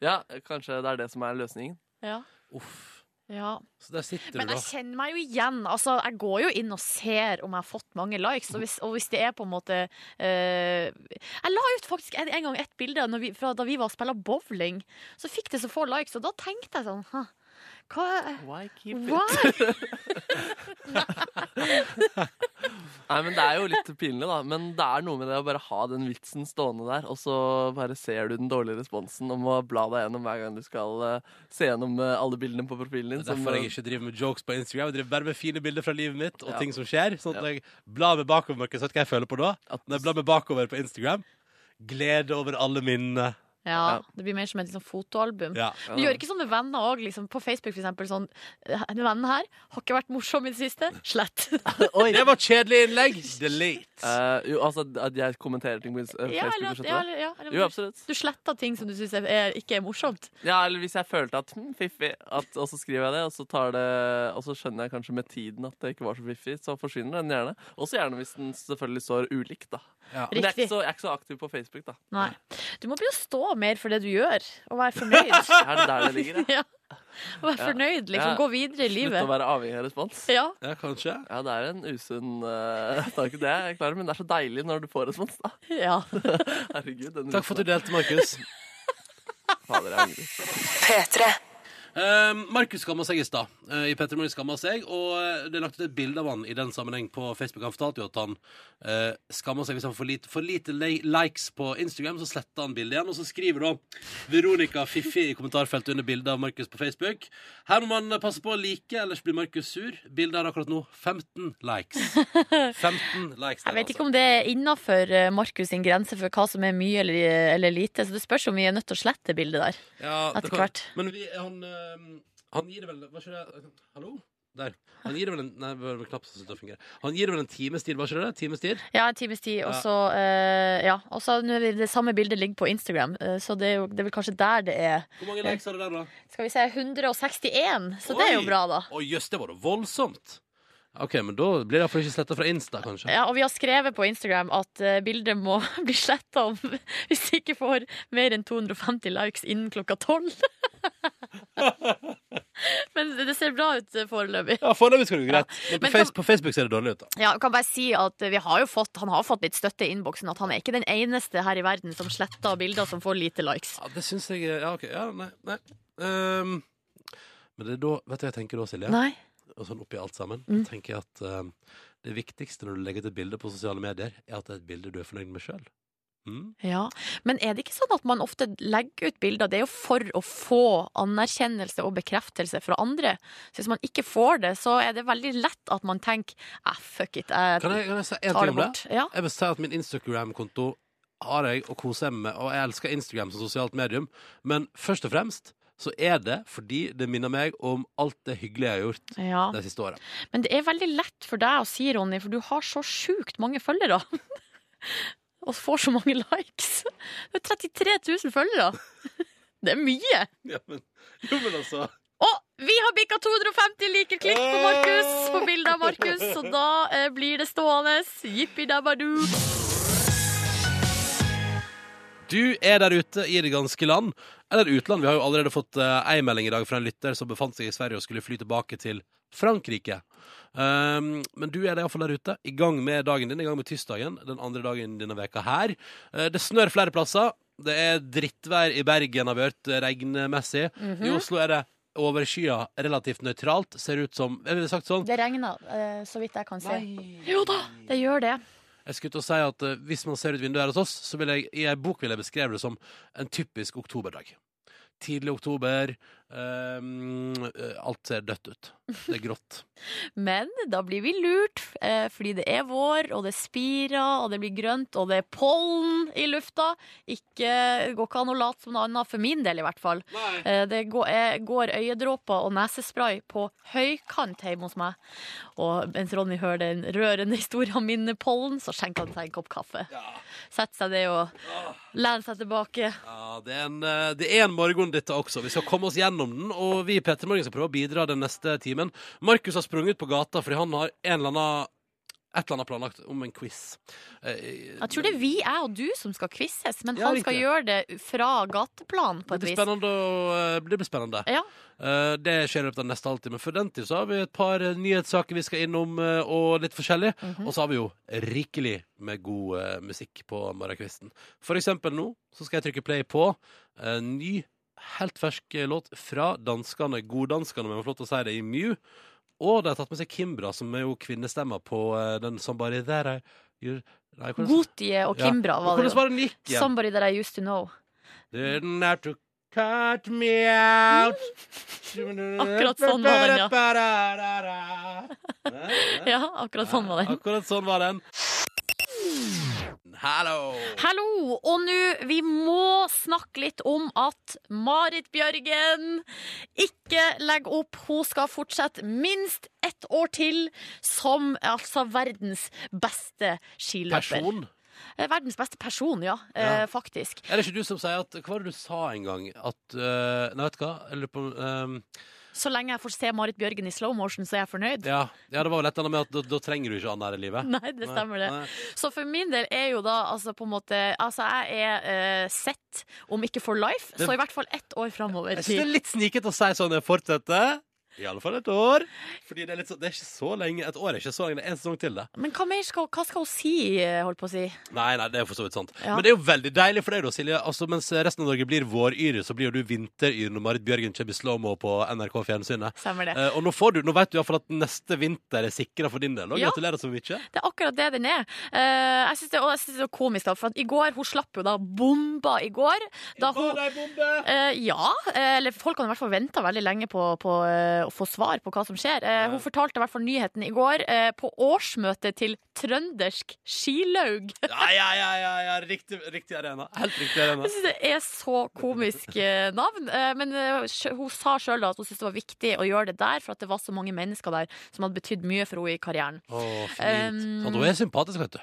Ja, kanskje det er det som er løsningen. Ja. Uff. Ja. Så der sitter Men du, jeg da. kjenner meg jo igjen. Altså, jeg går jo inn og ser om jeg har fått mange likes. Og hvis, og hvis det er på en måte eh, Jeg la ut faktisk en, en gang et bilde når vi, fra da vi var og spilte bowling. Så fikk det så få likes, og da tenkte jeg sånn «Hæ, Hva Why keep it? Why? Nei, men Det er jo litt pinlig, da. Men det er noe med det å bare ha den vitsen stående der, og så bare ser du den dårlige responsen om å bla deg gjennom hver gang du skal eh, se gjennom eh, alle bildene på profilen din. Det er derfor eh, jeg ikke driver med jokes på Instagram. Jeg driver bare med fine bilder fra livet mitt og Ja. ting som skjer. Sånn at Ja. jeg blar meg bakover, Markus. Vet du hva jeg føler på da? At- Når jeg blar meg bakover på Instagram. Glede over alle minnene. Ja, Ja. det blir mer som et liksom, fotoalbum. Ja. Du gjør ikke sånn med venner òg. Liksom, på Facebook, for eksempel. Sånn, denne vennen her har ikke vært morsom i det siste. Slett. Oi! Det var et kjedelig innlegg! Delete. Eh, jo, altså at jeg kommenterer ting på Inst- eh, ja, eller, Facebook? at- skjønner du ja, det? eller, ja, eller, Jo, absolutt. du sletter ting som du syns er, er, ikke er morsomt. Ja, eller hvis jeg følte at hm, fiffig, at, og så skriver jeg det, og så, tar det, og så skjønner jeg kanskje med tiden at det ikke var så fiffig, så forsvinner den gjerne. Også gjerne hvis den selvfølgelig står ulikt, da. Ja. Men jeg er, Riktig. ikke så, jeg er ikke så aktiv på Facebook, da. Nei. Du må begynne å stå mer for det du gjør, og være fornøyd. Er det der det ligger? Ja? ja. Være fornøyd, liksom. Ja. Gå videre i Slutt å livet. være avhengig av respons. Ja. Ja, kanskje. Ja, det er en usunn eh, tanke, det er jeg klar over, men det er så deilig når du får respons, da. ja. Herregud. Den Takk for at du delte, Markus. Fader, jeg angrer. Eh, Markus skamma seg i stad. Eh, I Petter Morgen skamma seg, og eh, det er lagt ut et bilde av han i den sammenheng på Facebook. Han fortalte jo at han uh, skamma seg hvis han får lite, for lite li- likes på Instagram, så sletta han bildet igjen. Og så skriver da Veronica Fiffi i kommentarfeltet under bildet av Markus på Facebook. Her må man passe på å like, ellers blir Markus sur. Bildet har akkurat nå 15 likes. 15 likes Jeg vet ikke om det er innafor Markus sin grense for hva som er mye eller, eh, eller lite, så det spørs om vi er nødt til å slette bildet der. Ja, Etter det kan- hvert. Men vi, han, eh, han gir det vel Hva skjer det? Hallo? Der. Han gir det vel en Nei, det var vel knapp som sluttet å fungere. Han gir det vel en times tid, hva skjer det? Times tid? Ja, en times tid, og Ja. så eh, Ja. Og så nå er det- det samme bildet ligger på Instagram, eh, så det er, jo, det er vel kanskje der det er Hvor mange likes har det der, da? Skal vi si 161, så det er Oi! jo bra, da. Å jøss, det var da voldsomt. OK, men da blir det iallfall ikke sletta fra Insta, kanskje. Ja, og vi har skrevet på Instagram at eh, bildet må bli sletta om hvis det ikke får mer enn 250 likes innen klokka tolv. Men det ser bra ut eh, foreløpig. Ja, Foreløpig skal det gå Ja. greit. Men, på, Men face, på Facebook ser det dårlig ut, da. Ja, jeg kan bare si at vi har jo fått, Han har fått litt støtte i innboksen. At han er ikke den eneste her i verden som sletter bilder som får lite likes. Ja, Det syns jeg Ja, OK. Ja, nei. nei. Ehm, men det er da Vet du hva jeg tenker da, Silje? Nei. Og sånn oppi alt sammen. Mm. tenker jeg at ehm, det viktigste når du legger ut et bilde på sosiale medier, er at det er et bilde du er fornøyd med sjøl. Mm? Ja. Men er det ikke sånn at man ofte legger ut bilder? Det er jo for å få anerkjennelse og bekreftelse fra andre. Så hvis man ikke får det, så er det veldig lett at man tenker ah, fuck it, jeg Kan jeg, kan jeg si en tar ting det om det? bort. Ja. Jeg vil si at min Instagram-konto har jeg og koser meg med, og jeg elsker Instagram som sosialt medium, men først og fremst så er det fordi det minner meg om alt det hyggelige jeg har gjort Ja. de siste åra. Men det er veldig lett for deg å si, Ronny, for du har så sjukt mange følgere. Og får så mange likes. Det er 33 000 følgere. Det er mye. Ja, men- jo, men altså Og vi har bikka 250 liker klikk på Markus! På bildet av Markus, så da eh, blir det stående. Jippi dabadu. Du er der ute i det ganske land. Eller utland. Vi har jo allerede fått eh, ei melding i dag fra en lytter som befant seg i Sverige og skulle fly tilbake til Frankrike. Um, men du er da iallfall der ute, i gang med dagen din, i gang med tirsdagen. Den andre dagen denne veka her. Eh, det snør flere plasser. Det er drittvær i Bergen, har vi hørt, regnmessig. Mhm. I Oslo er det overskya, relativt nøytralt. Ser ut som Jeg ville sagt sånn Det regner, eh, så vidt jeg kan se. Jo da, det gjør det. Jeg skulle til å si at eh, hvis man ser ut vinduet her hos oss, så vil jeg, i ei bok vil jeg beskrive det som en typisk oktoberdag. Tidlig oktober, ehm, eh, alt ser dødt ut. Det er grått. Men da blir vi lurt, eh, fordi det er vår, og det spirer, og det blir grønt, og det er pollen i lufta. Ikke, det går ikke an å late som noe annet, for min del i hvert fall. Eh, Det går, eh, går øyedråper og nesespray på høykant hjemme hos meg. Og mens Ronny hører den rørende historien min med pollen, så skjenker han seg en kopp kaffe. Setter seg ned og lener seg tilbake. Ja, det, er en, eh, det er en morgen, dette også. Vi skal komme oss gjennom den, og vi i Petter Morgen skal prøve å bidra den neste timen. Markus har sprunget ut på gata fordi han har en eller annen, et eller annet planlagt om en quiz. Eh, Jeg tror det er vi, jeg og du, som skal quizes, men Ja, han skal riktig. gjøre det fra gateplan på det et blir vis. spennende. å, eh, Det blir spennende. Ja, Eh, Det skjer i løpet av den neste halvtime. For den tid så har vi et par eh, nyhetssaker vi skal innom, eh, og litt forskjellig. Mhm. Og så har vi jo rikelig med god eh, musikk på morgenkvisten. For eksempel nå så skal jeg trykke play på en ny, helt fersk eh, låt fra danskene, goddanskene, om jeg må få lov til å si det, i Mew. Og de har tatt med seg Kimbra, som er jo kvinnestemma på eh, den som bare der er gjør- Nei, hvordan- Gotie og Ja. Kimbra var det jo. Hvordan var den gikk igjen? Somebody that I used to know. Didn't have to cut me out Akkurat sånn var den, ja. ja. Ja, akkurat sånn var den. Akkurat sånn var den. Hallo! Hallo! Og nå, vi må snakke litt om at Marit Bjørgen ikke legger opp. Hun skal fortsette minst ett år til som altså verdens beste skiløper. Person? Eh, Verdens beste person, ja. Ja. Eh, faktisk. Er det ikke du som sier at Hva var det du sa en gang? At eh, Nei, vet du hva? Jeg lurer på om, eh, Så lenge jeg får se Marit Bjørgen i slow motion, så er jeg fornøyd. ja, ja, det var vel et eller annet med at da, da trenger du ikke annet her i livet. Nei, det stemmer det. Nei, Så for min del er jo da altså på en måte Altså, jeg er eh, sett, om ikke for life, Det- så i hvert fall ett år framover. Jeg synes det er litt snikete å si sånn jeg fortsetter. I alle fall et år. Fordi det er, litt så, det er ikke så lenge. Et år er ikke så lenge. Det er en sesong til det. Men hva mer skal, hva skal hun si, eh, holdt på å si? Nei, nei, det er for så vidt sant. Ja. Men det er jo veldig deilig for deg, da, Silje. Altså, mens resten av Norge blir våryre, så blir jo du vinteryre når Marit Bjørgen kommer i slow-mo på NRK Fjernsynet. Stemmer det. Eh, og nå, får du, nå vet du i hvert fall at neste vinter er sikra for din del. Og Ja. gratulerer så mye. Det er akkurat det den er. Eh, jeg syns det, og jeg synes det er komisk, da, for at i går hun slapp jo da bomba i går. Da hun, Eh, ja, eh, eller folk kan i hvert fall vente veldig lenge på, på eh, å få svar på hva som skjer. Eh, Ja. Hun fortalte i hvert fall nyheten i går eh, på årsmøtet til Trøndersk Skilaug. Ja, ja, ja, ja, ja. Riktig, riktig arena. Helt riktig arena. Jeg syns det er så komisk eh, navn. Eh, Men eh, sj- hun sa sjøl at hun syntes det var viktig å gjøre det der, for at det var så mange mennesker der som hadde betydd mye for henne i karrieren. Å, fint. Um, Sånn, hun er sympatisk, vet du.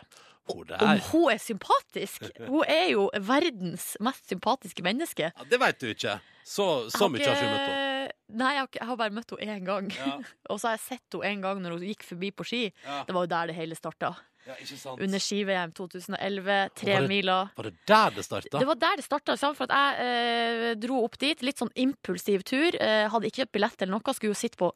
Hun Om der. hun er sympatisk! Hun er jo verdens mest sympatiske menneske. Ja, det vet du ikke. Så, så mye har ikke du møtt henne. Nei, jeg har, ikke, jeg har bare møtt henne én gang. Ja. Og så har jeg sett henne en gang når hun gikk forbi på ski. Ja. Det var jo der det hele starta. Ja, ikke sant. Under ski-VM 2011, tre Var det- miler. Var det der det starta? Det var der det starta. For at jeg eh, dro opp dit, litt sånn impulsiv tur. Eh, hadde ikke kjøpt billett eller noe, skulle jo sitte på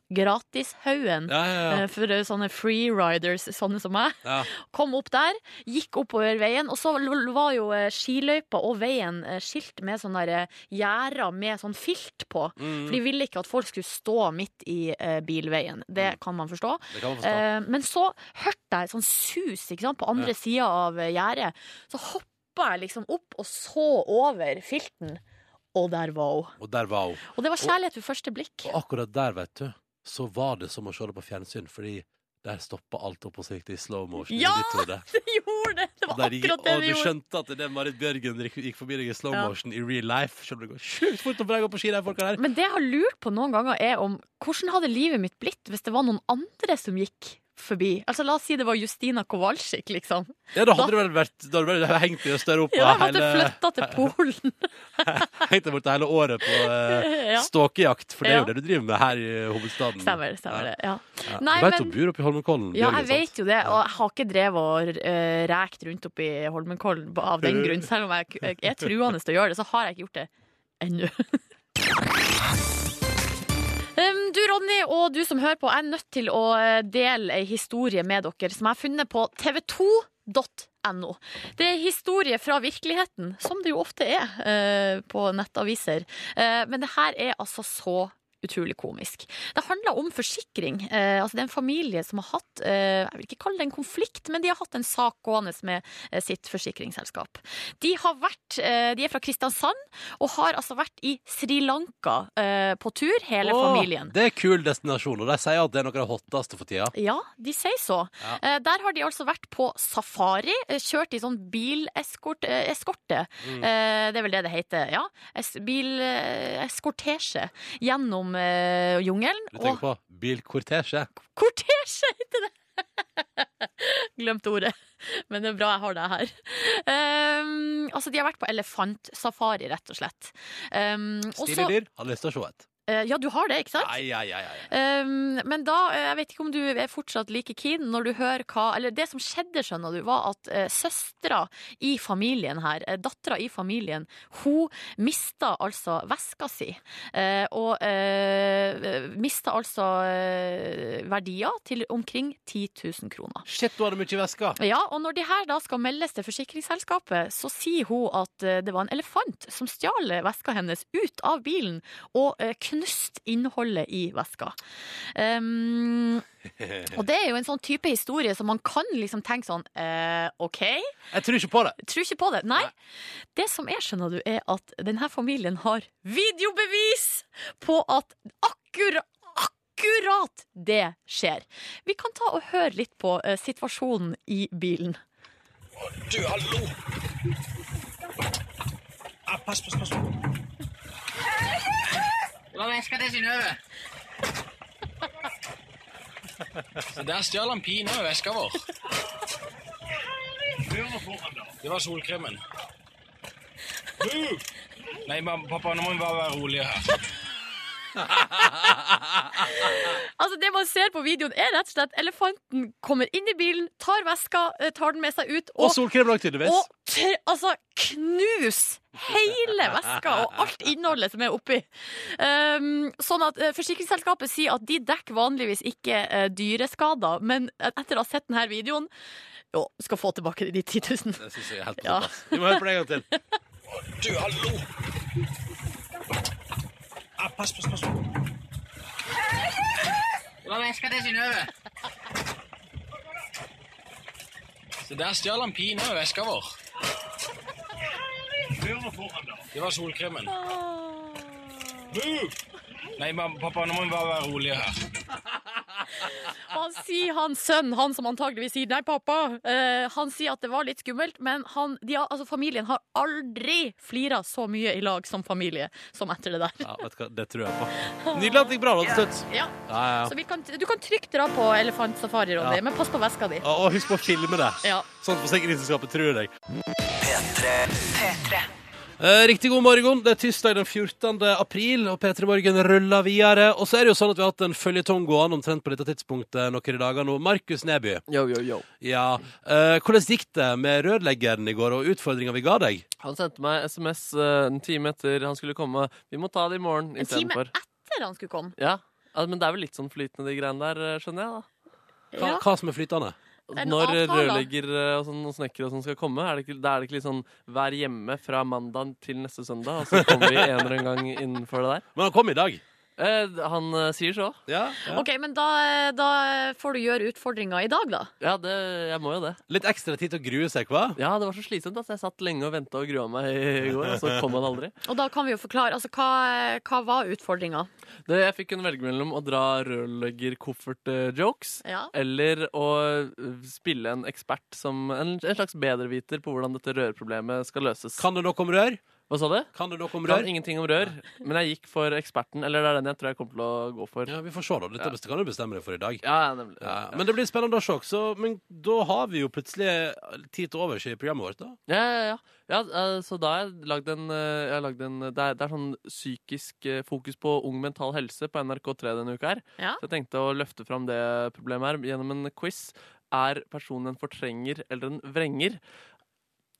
Gratishaugen. Ja, ja, eh, ja. For eh, sånne freeriders, sånne som meg. ja. Kom opp der, gikk oppover veien, og så l- var jo eh, skiløypa og veien eh, skilt med sånne der, eh, gjerder med sånn filt på. For Mm, de ville ikke at folk skulle stå midt i eh, bilveien. Mm. Det kan man forstå. det kan man forstå. Eh, men så hørte jeg sånn sus ikke sant, på andre Ja. sida av eh, gjerdet. Så hoppa jeg liksom opp og så over filten. Og der var hun. Og der var hun. Og det var kjærlighet ved første blikk. Og akkurat der, vet du, så var det som å se det på fjernsyn, fordi der stoppa alt opp og så gikk det i slow motion. i Ja! ditt hode. Det gjorde det! Det var Og, der gikk, akkurat det og vi du gjorde. skjønte at det Marit Bjørgen gikk gikk forbi deg i slow Ja. Mm. motion i real life. Selv om det går sjukt fort når jeg går på ski, de folka der. Men det jeg har lurt på noen ganger, er om hvordan hadde livet mitt blitt hvis det var noen andre som gikk forbi. Altså La oss si det var Justina Kowalczyk, liksom. Ja, da hadde det vel vært Da hadde det vel hengt i Øst-Europa Ja, jeg måtte hele flytta til Polen. Hengt det bort hele året på eh, ja. ståkejakt, for det er jo Ja. det du driver med her i hovedstaden. Stemmer det. stemmer det, ja. Ja. Nei, du vet men- hun bor oppe i Holmenkollen? Ja, jeg Bjørgen, sant? vet jo det, og jeg har ikke drevet og eh, rekt rundt oppi Holmenkollen ba- av den grunn. Selv om jeg k- er truende til å gjøre det, så har jeg ikke gjort det ennå. Em, Du Ronny og du som hører på, jeg er nødt til å eh, dele ei historie med dere som jeg har funnet på tv2.no. Det er historie fra virkeligheten, som det jo ofte er eh, på nettaviser. Eh, men det her er altså så utrolig komisk. Det handler om forsikring. Eh, altså det er en familie som har hatt eh, Jeg vil ikke kalle det en konflikt, men de har hatt en sak gående med eh, sitt forsikringsselskap. De, har vært, eh, de er fra Kristiansand og har altså vært i Sri Lanka eh, på tur, hele Åh, familien. Det er kul destinasjon, og de sier at det er noe av det hotteste for tida. Ja, de sier så. Ja. Eh, der har de altså vært på safari, eh, kjørt i sånn bileskorte. Eh, eskorte. Mm. eh, det er vel det det heter, ja. Es Bileskortesje gjennom eh, jungelen. Du tenker på bilkortesje. Kortesje heter det! Glemte ordet. Men det er bra jeg har deg her. Um, altså, de har vært på elefantsafari, rett og slett. Um, og Stilig så- dyr. Hadde lyst til å se et. eh, ja, du har det, ikke sant? Nei, ja, ja, ja, ja. Um, men da, eh, jeg vet ikke om du er fortsatt like keen når du hører hva Eller det som skjedde, skjønner du, var at uh, søstera i familien her, uh, dattera i familien, hun mista altså veska si. eh, og uh, mista altså eh, verdier til omkring 10 000 kroner. Shit, du hadde mye i veska. Ja, og når de her da skal meldes til forsikringsselskapet, så sier hun at eh, det var en elefant som stjal eh, veska hennes ut av bilen og eh, knust innholdet i veska. Um, og det er jo en sånn type historie som man kan liksom tenke sånn eh, OK, Jeg tror ikke på det. tror ikke på det. Nei. Det som er, skjønner du, er at denne familien har videobevis på at akkurat Akkurat det skjer. Vi kan ta og høre litt på eh, situasjonen i bilen. Du, hallo! Ah, pass, pass, pass. Det var veska til Synnøve. Så der stjal han pinadø veska vår. Det var solkremen. Nei, mam- pappa, nå må vi bare være rolige her. Altså Det man ser på videoen, er rett og slett elefanten kommer inn i bilen, tar veska, eh, tar den med seg ut Og og, solkrem òg, tydeligvis. og t- altså knus hele veska og alt innholdet som er oppi. Um, sånn at eh, Forsikringsselskapet sier at de dekker vanligvis ikke eh, dyreskader, men etter å ha sett denne videoen jo, skal få tilbake de 10 000. Det synes jeg er helt på Ja. topp, ass. Vi må høre på det en gang til. Du, hallo! Ah, pass, pass, pass. Det var veska til Synnøve. Så der stjal han pinadø veska vår. Det var solkremen. Ah. Nei, mam- pappa, nå må vi bare være rolige her. Og han sier han sønn, han som antageligvis sier nei, pappa, eh, han sier at det var litt skummelt, men han, de, har- altså, familien har aldri flira så mye i lag som familie som etter det der. Ja, vet du hva, Det tror jeg på. Nydelig at det gikk bra da til slutt. Ja, Ja, ja. så vi kan, Du kan trygt dra på elefantsafari, Ronny, Ja. men pass på veska di. Og og husk på å filme det, Ja. sånn at forsikringsselskapet tror deg. Eh, Riktig god morgen. Det er tirsdag den 14. april, og P3 Morgen ruller videre. Og så er det jo sånn at vi har hatt en føljetong gående omtrent på dette tidspunktet noen dager nå. Markus Neby, Yo, yo, yo. ja. eh, hvordan gikk det med rørleggeren i går, og utfordringa vi ga deg? Han sendte meg SMS eh, en time etter han skulle komme. Vi må ta det i morgen En time istedenfor. etter han skulle komme. Ja. ja, men det er vel litt sånn flytende, de greiene der, eh, skjønner jeg, da. Hva, Ja. hva som er flytende? En Når avtale. rørlegger og, sånn, og snekker og sånn skal komme, er det, ikke, da er det ikke litt sånn vær hjemme fra mandag til neste søndag, og så kommer vi en eller annen gang innenfor det der? Men han kom i dag. Eh, han eh, sier så. Ja, ja. OK, men da, da får du gjøre utfordringa i dag, da. Ja, det, jeg må jo det. Litt ekstra tid til å grue seg, hva? Ja, det var så slitsomt at jeg satt lenge og venta og grua meg i går, og så kom han aldri. Og da kan vi jo forklare. Altså, hva, hva var utfordringa? Det, jeg fikk en velge mellom å dra rørlegger-koffert-jokes Ja. eller å eh, spille en ekspert som en, en slags bedreviter på hvordan dette rørproblemet skal løses. Kan det noe om rør? Hva sa du? Kan du noe om Kan rør? ingenting om rør, men jeg gikk for eksperten. Eller det er den jeg tror jeg kommer til å gå for. Ja, vi får se, da. Dette best- kan du bestemme deg for i dag. Ja, nemlig. Ja, men det blir spennende å se. Så, men da har vi jo plutselig tid til overs i programmet vårt, da. Ja, ja, ja. ja eh, så da har jeg lagd en, eh, jeg har lagd en det, er, det er sånn psykisk eh, fokus på ung mental helse på NRK3 denne uka her. Ja. Så jeg tenkte å løfte fram det problemet her gjennom en quiz. Er personen en fortrenger eller en vrenger?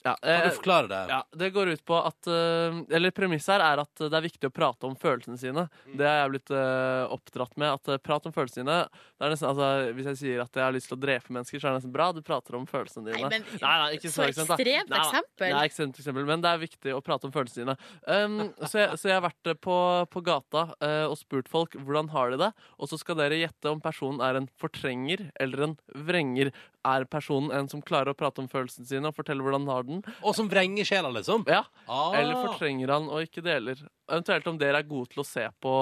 Ja, Kan eh, du forklare det? ja, det går ut på at eh, Eller premisset her er at det er viktig å prate om følelsene sine. Mm. Det er jeg blitt eh, oppdratt med. At eh, Prat om følelsene dine. Det er nesten, altså, hvis jeg sier at jeg har lyst til å drepe mennesker, så er det nesten bra. Du prater om følelsene dine. Nei, men Nei, nei, ikke så så ekstremt, da. ekstremt Nei, da. eksempel. Nei, ekstremt eksempel, men det er viktig å prate om følelsene dine. Um, så, jeg, så jeg har vært eh, på, på gata eh, og spurt folk hvordan har de det, og så skal dere gjette om personen er en fortrenger eller en vrenger. Er personen en som klarer å prate om følelsene sine og fortelle hvordan han har den? Og som vrenger sjela, liksom? Ja, Ah. Eh, Eller fortrenger han og ikke deler? Eventuelt om dere er gode til å se på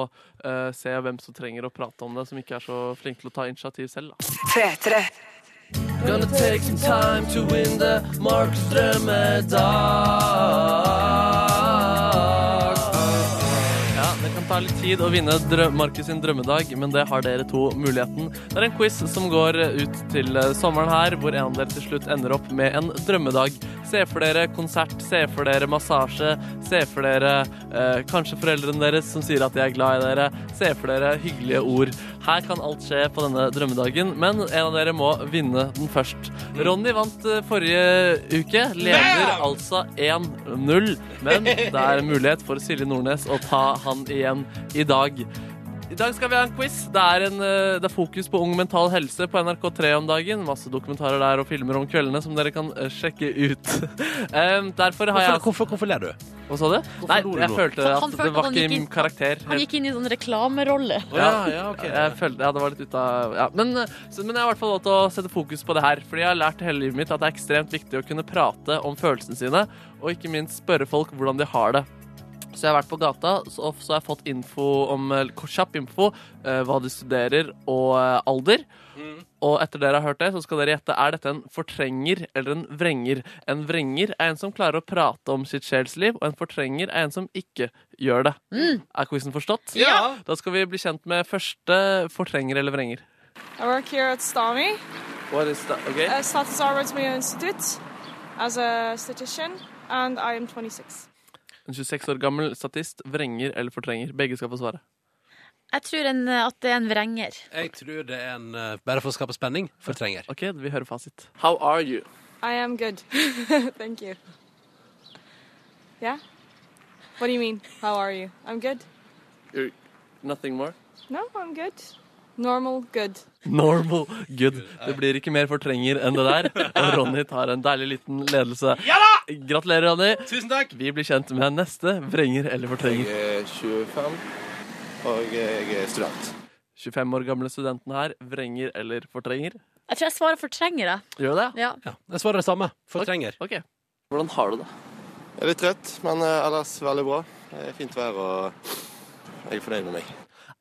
eh, Se hvem som trenger å prate om det, som ikke er så flinke til å ta initiativ selv. Da. Gonna take some time to win the Markus drømmedag. Ja, det kan ta litt tid å vinne drø Markus sin drømmedag, men det har dere to muligheten. Det er en quiz som går ut til eh, sommeren her, hvor en av dere til slutt ender opp med en drømmedag. Se for dere konsert, se for dere massasje, se for dere eh, kanskje foreldrene deres som sier at de er glad i dere, se for dere hyggelige ord. Her kan alt skje på denne drømmedagen, men en av dere må vinne den først. Ronny vant eh, forrige uke, leder altså 1-0, men det er mulighet for Silje Nordnes å ta han igjen i dag. I dag skal vi ha en quiz. Det er, en, eh, det er fokus på ung mental helse på NRK3 om dagen. Masse dokumentarer der og filmer om kveldene som dere kan eh, sjekke ut. Em, derfor har Hvorfor, jeg hvorfor, hvorfor ler du? Hva sa du? Nei, lo du jeg nå? følte Han- han at det følte at var han ikke i gikk min inn- karakter. Han gikk inn i sånn reklamerolle. Å, ja, ja, ok. Jeg følte, ja, det var litt ut av ja. men, så, men jeg har i hvert fall lov til å sette fokus på det her. Fordi jeg har lært hele livet mitt at det er ekstremt viktig å kunne prate om følelsene sine, og ikke minst spørre folk hvordan de har det. Så jeg har vært på gata, så, så har jeg fått info om, eh, kjapp info, eh, hva de studerer og eh, alder. Mm. Og etter dere har hørt det, så skal dere gjette er dette en fortrenger eller en vrenger. En vrenger er en som klarer å prate om sitt sjelsliv, og en fortrenger er en som ikke gjør det. Er quizen forstått? Ja. Da skal vi bli kjent med første fortrenger eller vrenger. I work here at STAMI, What is that? Okay. uh, Statens arbeidsmiljø institutt, as a statistician, and I am 26. En 26 år gammel statist. Vrenger eller fortrenger? Begge skal få svare. Jeg tror en, eh, at det er en vrenger. Jeg tror det er en eh, Bare for å skape spenning. Fortrenger. Ok, vi hører fasit. How are you? I am good. Thank you. Yeah? What do you mean? How are you? I'm good. You're nothing more? No, I'm good. Normal, good. Normal good. Det blir ikke mer fortrenger enn det der. Og Ronny tar en deilig liten ledelse. Ja da! Gratulerer, Ronny. Tusen takk! Vi blir kjent med neste vrenger eller fortrenger. Jeg er 25, og jeg er student. 25 år gamle studenten her. Vrenger eller fortrenger? Jeg tror jeg svarer fortrenger, jeg. Gjør du det? Ja. Ja, jeg svarer det samme. Fortrenger. Ok. Hvordan har du det? Jeg er litt trøtt, men eh, ellers veldig bra. Det er fint vær, og jeg er fornøyd med meg.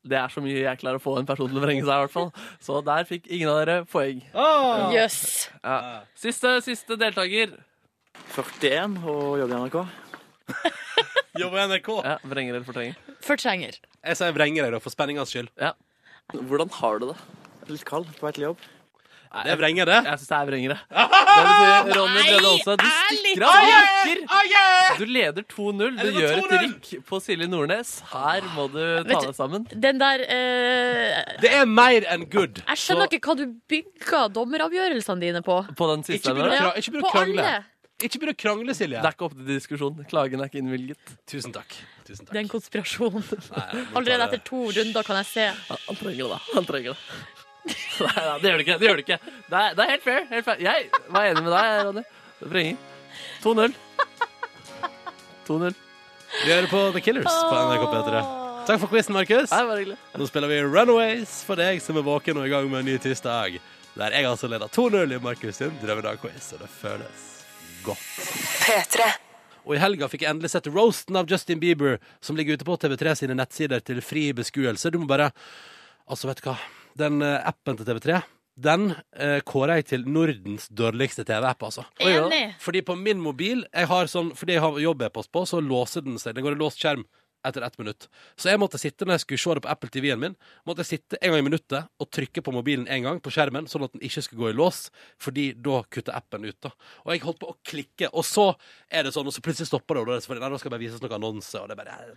Det er så mye jeg klarer å få en person til å vrenge seg, i hvert fall. Så der fikk ingen av dere poeng. Jøss. Ja. Siste, siste deltaker. 41 og jobber i NRK. Jobber i NRK. Ja, vrenger eller fortrenger. Fortrenger. Jeg sier vrenger jeg, da, for spenningens skyld. Hvordan har du det? Litt kald på vei til jobb. Det er vrenger, det. Jeg syns det er vrengere. Det betyr Ronny Nei, Brede Aase, du ærlig stikker av. Du rykker. Du leder 2-0. Du det var gjør et 2-0? rykk på Silje Nordnes. Her må du ta Vet du- deg sammen. Den der eh, Det er mer enn good. Jeg skjønner Så- ikke hva du bygger dommeravgjørelsene dine på. På den siste Ikke begynn å, der. kra ikke begynn å på krangle. alle. Ikke begynn å krangle, Det Silje. er ikke opp til diskusjon. Klagen er ikke innvilget. Tusen takk. Tusen takk. Det er en konspirasjon. Nei, nei, nå tar Allerede jeg- etter to runder kan jeg se. Ja, Han trenger det, da. Han trenger det. Nei, nei, det gjør det ikke. Det gjør det ikke. Det er, det er helt fair. Helt fair. Jeg var enig med deg, Ronny. Det vrenger. 2-0. 2-0. Vi hører på The Killers på NRK P3. Takk for quizen, Markus. Nei, bare hyggelig. Nå spiller vi Runaways for deg som er våken og i gang med en ny tirsdag. Der jeg altså leder 2-0 i Markus sin drømmedag-quiz, og det føles godt. Og i helga fikk jeg endelig sett roasten av Justin Bieber, som ligger ute på TV3 sine nettsider til fri beskuelse. Du må bare Altså, vet du hva? Den eh, appen til TV3, Den eh, kårer jeg til Nordens dårligste TV-app, altså. Oi, ja. Enig. Fordi på min mobil, jeg har sånn, fordi jeg har jobb jeg post på, så låser den seg. Den går i låst skjerm etter ett minutt. Så jeg måtte sitte, når jeg skulle se det på Apple TV-en min, måtte jeg sitte en gang i minuttet og trykke på mobilen en gang på skjermen, sånn at den ikke skulle gå i lås, fordi da kutter appen ut, da. Og jeg holdt på å klikke, og så er det sånn, og så plutselig stopper det, og da er det selvfølgelig, nei, nå skal det bare vises noen annonse, og det er bare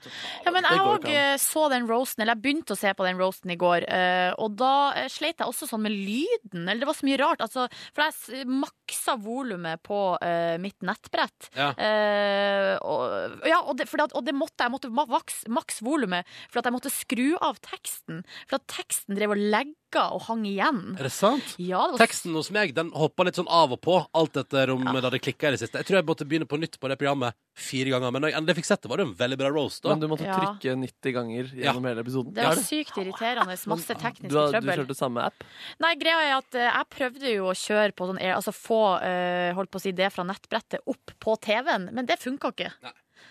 Ja, men Det jeg går òg ikke an. så den roasten, eller jeg begynte å se på den roasten i går, eh, og da eh, sleit jeg også sånn med lyden, eller det var så mye rart, altså, for jeg s- maksa volumet på eh, mitt nettbrett. Ja. Eh, og, ja, og, det, fordi at, og det måtte jeg, jeg måtte ma- vaks- maks volumet, for at jeg måtte skru av teksten, for at teksten drev og legga og hang igjen. Er det sant? Ja, det var- Teksten hos meg den hoppa litt sånn av og på, alt etter om det hadde klikka i det siste. Jeg tror jeg måtte begynne på nytt på det programmet fire ganger, men når jeg endelig fikk sett det, var det en veldig bra roast. da Men du måtte Ja. trykke 90 ganger gjennom hele episoden. Det var sykt irriterende. Masse tekniske du, har- du trøbbel. kjørte samme app? Nei, greia er at eh, jeg prøvde jo å kjøre på sånn air- Altså få eh, holdt på å si det fra nettbrettet opp på TV-en, men det funka ikke.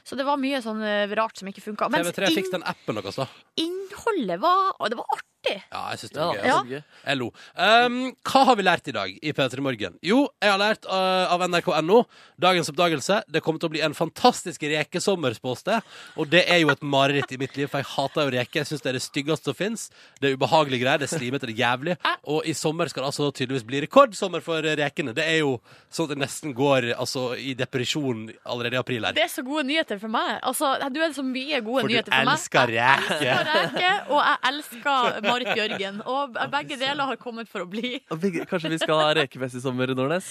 Så det var mye sånn eh, rart som ikke funka. Mens TV3 fikk inn- den appen deres, da. innholdet var Og det var artig! Ja, jeg syns det var Ja, gøy. altså. ja. Jeg lo. Um, hva har vi lært i dag i P3 Morgen? Jo, jeg har lært uh, av nrk.no dagens oppdagelse. Det kommer til å bli en fantastisk rekesommer, spås det. Og det er jo et mareritt i mitt liv, for jeg hater jo reker. Jeg syns det er det styggeste som fins. Det er ubehagelige greier. Det er slimete, det er jævlig. Og i sommer skal det altså tydeligvis bli rekordsommer for rekene. Det er jo sånn at det nesten går altså, i depresjon allerede i april her. Det er så gode nyheter for meg. Altså, Du er så mye gode For du nyheter for meg. elsker reker. Jeg elsker reker, og jeg elsker Marit Bjørgen. Og begge deler har kommet for å bli. Og vi- Kanskje vi skal ha rekefest i sommer i Nordnes?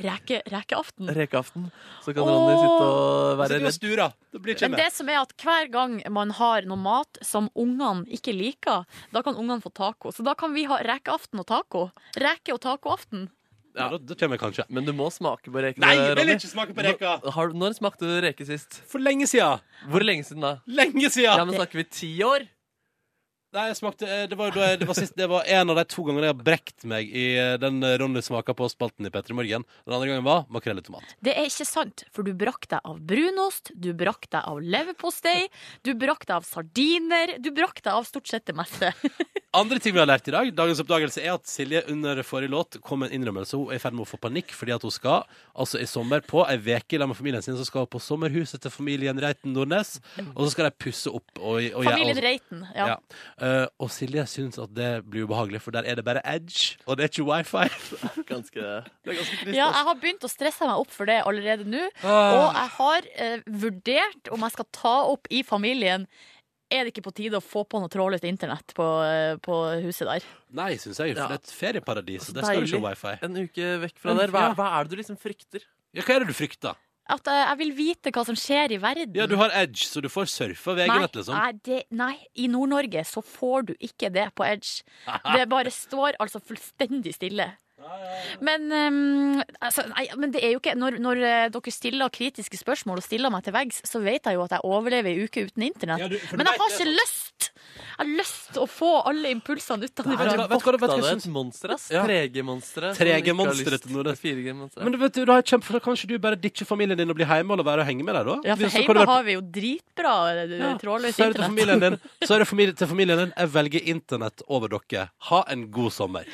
Reke, rekeaften. Rekeaften. Så kan Ronny sitte og være Sitter og sture. Det blir Men det som er at hver gang man har noe mat som ungene ikke liker, da kan ungene få taco. Så da kan vi ha rekeaften og taco. Reke- og tacoaften. Ja, da, da kommer jeg kanskje. Men du må smake på reker. Nei, jeg vil Ronny. ikke smake på reker. Nå- Har, når smakte du reke sist? For lenge sida. Hvor lenge siden da? Lenge siden. Ja, men snakker vi ti år? Nei, jeg smakte eh, Det var, jo da jeg- det var, sist, det var en av de to gangene jeg har brekt meg i eh, den eh, Ronny smaka på-spalten i P3 Morgen. Den andre gangen var makrell i tomat. Det er ikke sant, for du brakk deg av brunost, du brakk deg av leverpostei, du brakk deg av sardiner, du brakk deg av stort sett det meste. Andre ting vi har lært i dag, dagens oppdagelse er at Silje under forrige låt kom med en innrømmelse. Hun er i ferd med å få panikk fordi at hun skal altså i sommer på ei uke sammen med familien sin. Så skal hun på sommerhuset til familien Reiten Nordnes, og så skal de pusse opp. Og, og, Familien og- Reiten, ja. Eh, og Silje syns at det blir ubehagelig, for der er det bare edge, og det er ikke wifi. Ganske altså. Det er ganske trist. Ja, jeg har begynt å stresse meg opp for det allerede nå, Ah. og jeg har eh, vurdert om jeg skal ta opp i familien er det ikke på tide å få på noe trådløst internett på, eh, på huset der? Nei, syns jeg. For Ja. det er et ferieparadis. og Der skal du ikke ha wifi. En uke vekk fra der. Hva, hva er det du liksom frykter? Ja, hva er det du frykter? At eh, jeg vil vite hva som skjer i verden. Ja, Du har edge, så du får surfa nei, VG-nett, liksom. nei, det, nei, i Nord-Norge så får du ikke det på Edge. Det bare står altså fullstendig stille. Men, ehm, altså, nei, men det er jo ikke Når, når eh, dere stiller kritiske spørsmål og stiller meg til veggs, så vet jeg jo at jeg overlever ei uke uten internett. Ja, du- for du men jeg vet har det, altså. ikke lyst! Jeg har lyst til å få alle impulsene Vet utenfra. du hva- vet du hva- vet du hva jeg syns- monster, ass. 3G-monsteret. som ikke har lyst. 3G-monsteret til Nordnes. Men du vet du, da er kjempe, kanskje du bare ditcher familien din og blir hjemme og lar være å henge med deg, da? Liksom, Ja, for Så kan du hjemme være på- har vi jo dritbra eh, trådløst Så er det til familien din. internett. Så er det familie, til familien din. Jeg velger internett over dere. Ha en god sommer.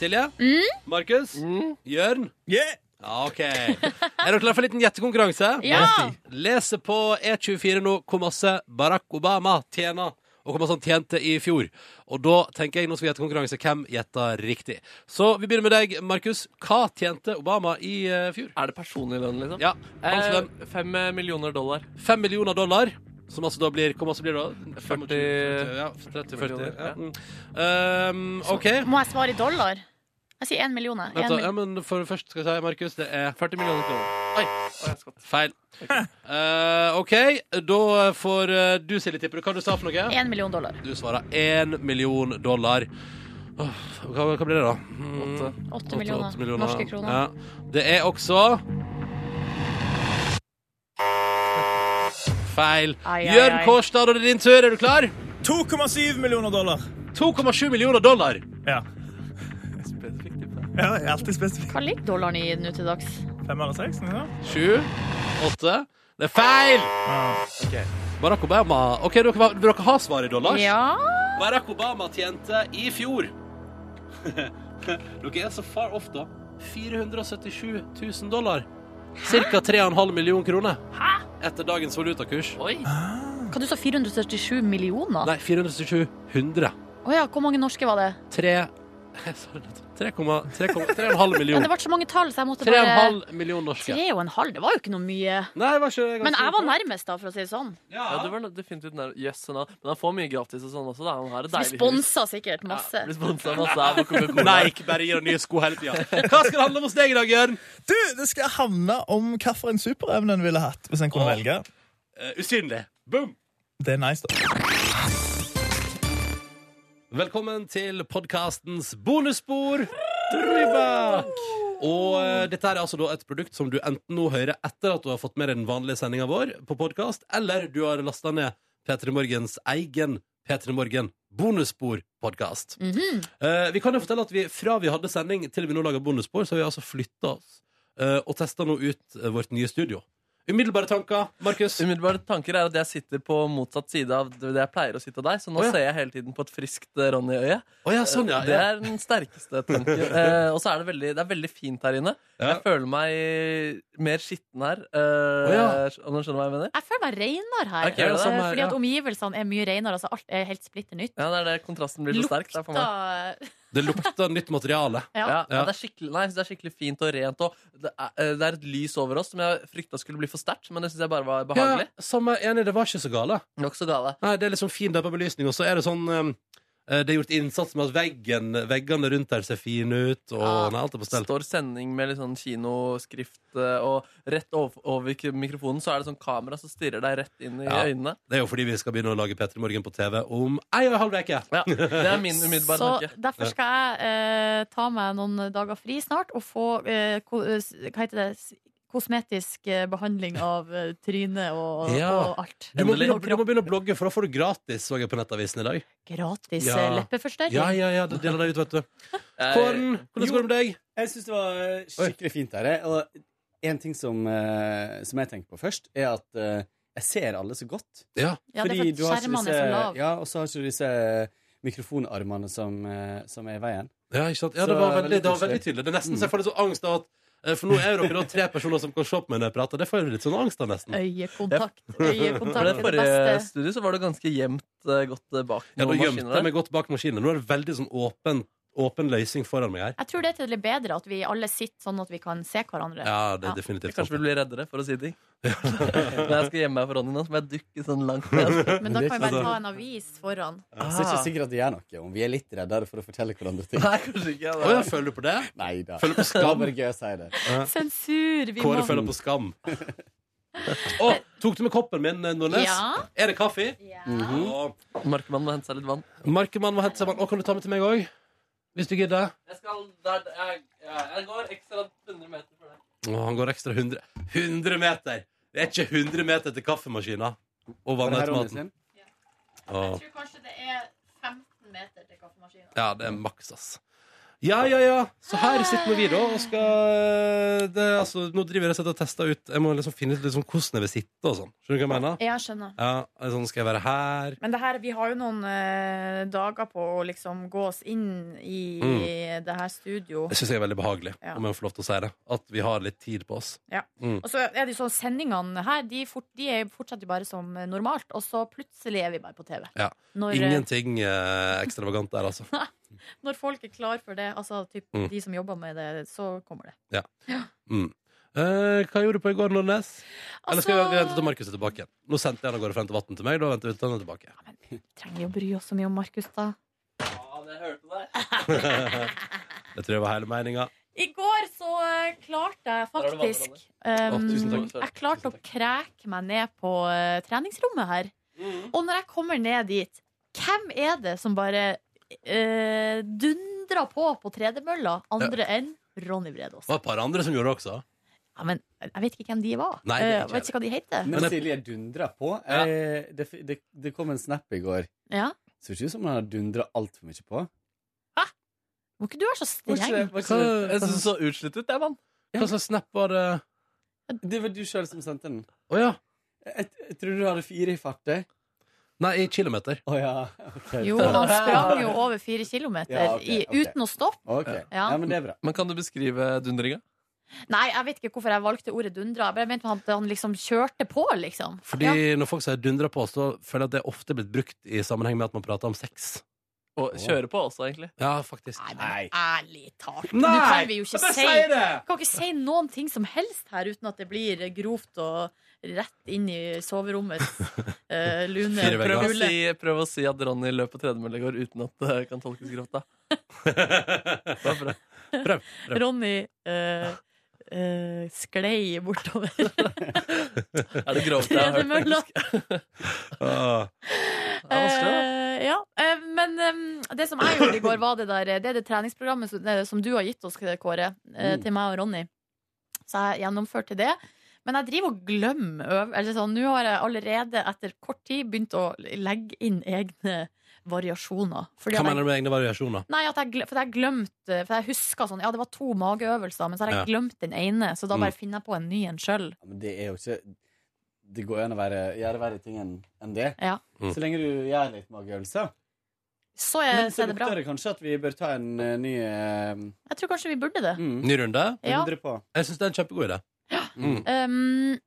Silje? Mm? Markus? Jørn? Ja, OK. Er dere klare for en liten gjettekonkurranse? Ja! Lese på E24 nå hvor masse Barack Obama tjener. Og hvor masse han tjente i fjor. Og da tenker jeg nå skal vi gjette konkurranse. Hvem gjetter riktig? Så vi begynner med deg, Markus. Hva tjente Obama i eh, fjor? Er det personlig lønn, liksom? Ja. Hans lønn. Eh, fem eh, millioner dollar. Fem millioner dollar. Som altså da blir Hvor masse blir det da? 40 ja, 30-40. millioner, Ja. ja. Mm. Ehm, OK. Må jeg svare i dollar? Jeg sier én million. jeg. Vent En da, mil- ja, men for først skal jeg si, Markus, det er 40 millioner kroner. Oi, feil. Eh, OK, da får eh, du, Silje, tipper du. Hva du sa for noe? En million dollar. Du svarer én million dollar. Åh, hva, hva blir det, da? Mm, Åtte. Åtte millioner. Norske kroner. Ja. Det er også Feil. Ai, ai, Jørn ai. Kårstad, da er det din tur. Er du klar? 2,7 millioner dollar. 2,7 millioner dollar? Ja. ja jeg er alltid spesifikk. Hva ligger dollaren i nå til dags? Fem eller seks? Liksom. Sju, åtte Det er feil! Barack Obama. Ok, dere, dere har svar i dollar? Ja. Barack Obama tjente i fjor Dere er så far off, da. 477 000 dollar. Ca. 3,5 millioner kroner etter dagens valutakurs. Hva du sa 477 millioner? Nei, 477 100. Å ja, hvor mange norske var det? Tre Jeg sa det nettopp. 3,5 Men det millioner. ble så mange tall, så jeg måtte bare 3,5 millioner norske. Tre og en halv, det var jo ikke noe mye. Nei, det var ikke Men jeg var nærmest, da, for å si det sånn. Ja, du var definitivt nær. Yes, han har- men han får mye gratis og sånn også. Da. Han har et Blir deilig hus. sponsa sikkert masse. Blir sponset masse av Coca-Cola. Nike bare gir han nye sko hele tida. Hva skal det handle om hos deg i dag, Jørn? Du, det skal handle om hvilken superevne en ville hatt hvis en kunne velge. Eh, usynlig. Boom! Det er nice, da. Velkommen til podkastens bonusspor. Driva! Og eh, dette er altså da et produkt som du enten nå hører etter at du har fått med deg den vanlige sendinga vår på podkast, eller du har lasta ned P3 Morgens egen P3 Morgen bonusspor-podkast. Eh, vi kan jo fortelle at vi, Fra vi hadde sending til vi nå lager bonusspor, så har vi altså flytta oss eh, og testa nå ut eh, vårt nye studio. Umiddelbare tanker, Markus? Umiddelbare tanker er at jeg sitter på motsatt side av det jeg pleier å sitte av deg, så nå Å, ja. ser jeg hele tiden på et friskt eh, Ronny-øye. Å ja, sånn, ja, Det ja. er den sterkeste tanken. Eh, og så er det veldig, det er veldig fint her inne. Ja. Jeg føler meg mer skitten her, eh, Å, om du skjønner hva jeg mener? Jeg føler meg reinere her. Eh, Ok, det er det samme her, fordi at ja. omgivelsene er mye reinere. Altså alt er helt splitter nytt. Ja, det er det kontrasten blir så sterk. Det er for meg. Da, Det lukter nytt materiale. Ja. Ja. Ja, Ja. det, er skikkelig- nei, jeg synes det er skikkelig fint og rent. Og det, er, eh, det er et lys over oss som jeg frykta skulle bli for sterkt, men det syns jeg bare var behagelig. Ja, samme enig, det var ikke så gale. Nok så gale. Nei, det er liksom fin dempet belysning, og så er det sånn um, eh, Det er gjort innsats med at veggen, veggene rundt her ser fine ut, og Ja. nei, alt er på stell. Står sending med litt sånn kinoskrift, eh, og rett over, over k- mikrofonen så er det sånn kamera som stirrer deg rett inn i Ja. øynene. Det er jo fordi vi skal begynne å lage P3 Morgen på TV om ei og en halv uke. Ja, Det er min umiddelbare så tanke. Ja. derfor skal jeg eh, ta meg noen dager fri snart og få eh, ko, eh, s- Hva heter det? S- Kosmetisk eh, behandling av eh, trynet og, Ja. og alt. Du må, Endelig. begynne, du må begynne å blogge, for da får du gratis, så jeg på Nettavisen i dag. Gratis Ja. eh, leppeforstørring. Ja, ja, ja, det deler deg ut, vet du. Jeg- Kåren, hvordan går det med deg? Jeg syns det var eh, skikkelig fint her. jeg. Og en ting som, eh, som jeg tenker på først, er at eh, jeg ser alle så godt. Ja. Ja, det er for at du har ikke skjermene er disse- så lav. Ja, og så har ikke du disse mikrofonarmene som, eh, som er i veien. Ja, ikke sant? ja Så det, var veldig veldig, det var koselig. veldig tydelig. Det er nesten så jeg får litt sånn angst av at eh, For nå er dere da tre personer som kan se på meg når jeg prater. Det får jeg litt sånn angst av, nesten. Øyekontakt. For Øyekontakt det er det forrige beste. studiet så var det ganske gjemt eh, godt eh, bak Ja, da noen gjemte maskiner jeg der. meg godt bak maskinen. Nå er det veldig sånn åpen, åpen løsning foran meg her. Jeg tror det er til det bedre at vi alle sitter sånn at vi kan se hverandre. Ja, det Ja. er definitivt sant. Kanskje vi blir reddere, for å si ting. Når jeg skal gjemme meg for Ronny nå, så må jeg dukke sånn langt ned. Men da kan vi sånn. bare ta en avis foran. Ah. Så det er ikke sikkert at det gjør noe om vi er litt reddere for å fortelle hverandre ting. Nei, kanskje ikke. Å ja, føler du på det? Nei da. Føler du på Det var skam? bare gøy å si det. Sensur! Vi Kåre må føler på skam. Å, tok du med koppen min, eh, Nordnes? Ja. Er det kaffe? Ja. Å, Markemann må hente seg litt vann. Markemann må hente seg vann. Å, Kan du ta med til meg òg? Hvis du gidder. Jeg, går ekstra 100 meter for deg. Å, han går ekstra 100 100 meter! Det er ikke 100 meter til kaffemaskina og Var det her Ronny vannautomaten. sin? Å, tror kanskje det er 15 meter til kaffemaskinen. Ja, det er maks, ass. Ja, ja, ja. Så her sitter nå vi, da, og skal det, er altså, Nå driver jeg rett og slett og tester ut Jeg må liksom finne ut liksom hvordan jeg vil sitte og sånn. Skjønner du hva jeg mener? Ja, skjønner. Ja, sånn Skal jeg være her? Men det her, vi har jo noen eh, dager på å liksom gå oss inn i Mm. det her studio. Det syns jeg er veldig behagelig, Ja. om jeg får lov til å si det. At vi har litt tid på oss. Ja. Mm. Og så er det jo sånn, sendingene her, de, fort, de er fortsatt bare som eh, normalt, og så plutselig er vi bare på TV. Ja. Når, eh, Ingenting eh, ekstravagant der, altså. når folk er klar for det, altså typ, Mm. de som jobber med det, så kommer det. Mm. Eh, hva gjorde du på i går, Nordnes? Eller skal vi vente til Altså, Markus er tilbake? igjen? Nå sendte jeg han av gårde frem til vann til meg. Da venter vi til han er tilbake. trenger vi å bry oss så mye om Markus da? Ja, det hørte deg. Det tror jeg var hele meninga. I går så eh, klarte jeg Der har du vannet, faktisk Å, tusen em, takk. Jeg klarte å kreke meg ned på eh, treningsrommet her. Mm. Og når jeg kommer ned dit, hvem er det som bare eh, dundrer på på tredemølla, andre enn Ronny Bredås? Det var et par andre som gjorde det også. Ja, men jeg vet ikke hvem de var. Nei, det er Eh, ikke vet ikke hva de heter. Når Silje dundrer på eh, det, det, det kom en snap i går. Ja. Så ikke ut som hun har dundra altfor mye på. Må ikke du være så Var ikke streng? det- var ikke Hva, det- Jeg synes så utslitt ut, jeg, mann. hva slags snap var det? Det var du sjøl som sendte den. Å ja. Jeg, jeg tror du hadde fire i fartøy. Nei, i kilometer. Å ja. ok. Jo, han sprang jo over fire kilometer Ja, ok, i, ok. uten å stoppe. Ja. men det er bra. Men kan du beskrive dundringa? Nei, jeg vet ikke hvorfor jeg valgte ordet dundra. Jeg bare mente han, han liksom kjørte på, liksom. Fordi Ja. når folk sier 'dundra på', så føler jeg at det er ofte blitt brukt i sammenheng med at man prater om sex. Og kjøre på også, egentlig. Ja, faktisk. Nei. Ærlig talt. Nei, Nå kan vi jo ikke jeg bare si sier Vi det. kan ikke si noen ting som helst her uten at det blir grovt og rett inn i soverommets eh, lune Prøv å, hule. si, prøv å si at Ronny løp på tredemølle i går uten at det kan tolkes grovt, da. Ah. Bare prøv. Prøv, prøv. Ronny eh, eh, sklei bortover. Er det grovt jeg har hørt, Tredemølla. Ah. Eh, ja, eh, men eh, det som jeg gjorde i går, var det der Det er det treningsprogrammet som, det, som du har gitt oss, Kåre, eh, Mm. til meg og Ronny. Så jeg gjennomførte det. Men jeg driver og glemmer øv- eller sånn, Nå har jeg allerede etter kort tid begynt å legge inn egne variasjoner. Fordi Hva at jeg- mener du med egne variasjoner? Nei, at jeg, gle- for jeg glemte For jeg husker sånn Ja, det var to mageøvelser, men så har jeg Ja. glemt den ene. Så da bare Mm. finner jeg på en ny en sjøl. Ja, Men det er jo ikke Det går jo an å være, gjøre verre ting enn enn det. Ja. Så lenge du gjør litt mageøvelser. Så er, Men Eh, så så er det bra. lukter det kanskje at vi bør ta en eh, ny eh, Jeg tror kanskje vi burde Mm. det. Ny runde? Ja. Dundre på. Jeg syns det er en kjempegod idé. Mm.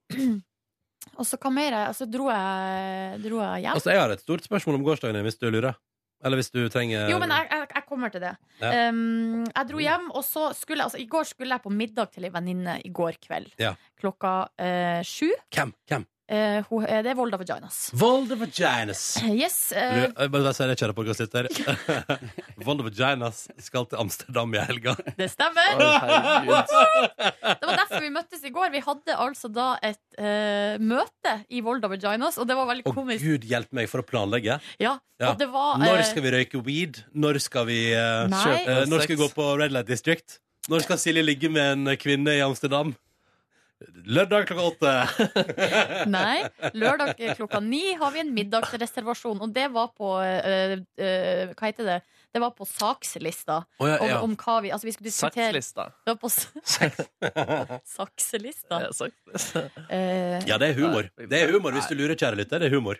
Um, og så hva mer? jeg- Altså, dro jeg, dro jeg hjem? Altså, jeg har et stort spørsmål om gårsdagen din, hvis du lurer. Eller hvis du trenger jo, men jeg, jeg, jeg kommer til det. eh, Ja. Um, jeg dro hjem, og så skulle jeg- altså, I går skulle jeg på middag til ei venninne i går kveld. Ja. Klokka eh, sju. Hvem? Hvem? Eh, hun, eh, det er Volda Vaginas. Volda vaginas. Yes. eh, Lu- eh, Bare bare si det, kjære podkast der. Volda vaginas skal til Amsterdam i helga. Det stemmer! Oi, herregud. det var derfor vi møttes i går. Vi hadde altså da et eh, møte i Volda Vaginas, og det var veldig Og komisk. gud hjelpe meg for å planlegge. Ja, og det var, eh, Når skal vi røyke weed? Når skal vi eh, Nei. kjøpe- eh, Når skal vi gå Sex. på Red Light District? Når skal Silje ligge med en kvinne i Amsterdam? Lørdag klokka åtte. Nei. Lørdag klokka ni har vi en middagsreservasjon, og det var på eh, eh, Hva heter det? Det var på sakslista. Å, ja, ja. Om, om hva vi Altså, vi skulle diskutere Sakslista. Det var på s- sakselista. Ja, saks- Eh, Ja, det er humor. Det er humor hvis du lurer, kjære lytter. Det er humor.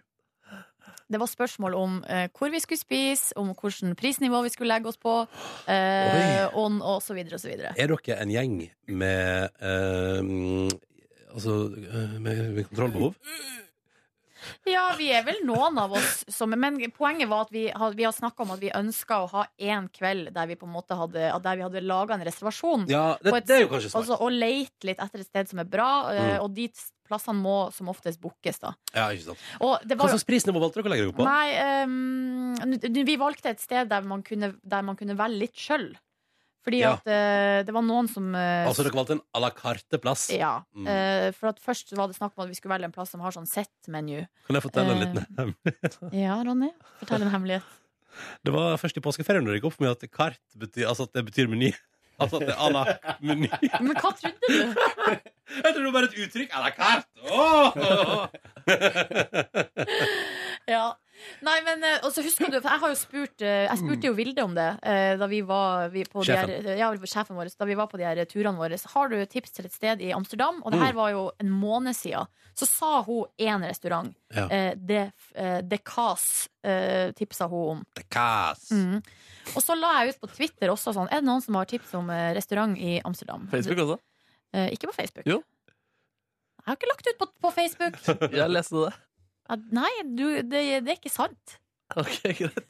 det var spørsmål om eh, hvor vi skulle spise, om hvilket prisnivå vi skulle legge oss på, eh, og, og så videre og så videre. Er dere en gjeng med eh, Altså eh, med, med kontrollbehov? Ja, vi er vel noen av oss som Men poenget var at vi har, vi har snakka om at vi ønska å ha én kveld der vi på en måte hadde at Der vi hadde laga en reservasjon. Ja, det- På et- det er jo kanskje smart. altså, Og leite litt etter et sted som er bra, eh, Mm. og de plassene må som oftest bookes, da. Ja, ikke sant. Og det var Hva jo- slags prisnivå Altså, valgte dere å legge dere på? Nei, ehm, n- vi valgte et sted der man kunne, der man kunne velge litt sjøl. Fordi Ja. at eh, det var noen som eh, Altså dere valgte en à la carte-plass? Ja. Mm. eh, for at først var det snakk om at vi skulle velge en plass som har sånn set-menu. Kan jeg fortelle en Eh, liten hemmelighet? Ja, Ronny. Fortell en hemmelighet. Det var først i påskeferien når det gikk opp for meg at kart betyr, altså at det betyr meny. Altså at det er à la meny. Men hva trodde du? Jeg trodde det var bare et uttrykk. À la carte! Ja. Nei, men eh, Og så husker du, for jeg har jo spurt eh, Jeg spurte jo Vilde om det eh, da vi var vi, på de Sjefen. her, ja, sjefen vår, da vi var på de her turene våre. Så Har du tips til et sted i Amsterdam? Og det Mm. her var jo en måned siden. Så sa hun én restaurant. Ja. Eh, det, eh, det Cas eh, tipsa hun om. Kas. Mm. Og så la jeg ut på Twitter også sånn Er det noen som har tips om eh, restaurant i Amsterdam? Facebook også? Eh, ikke på Facebook. Jo. Jeg har ikke lagt ut på, på Facebook. Jeg leste det. Ja, Nei, du, det, det er ikke sant.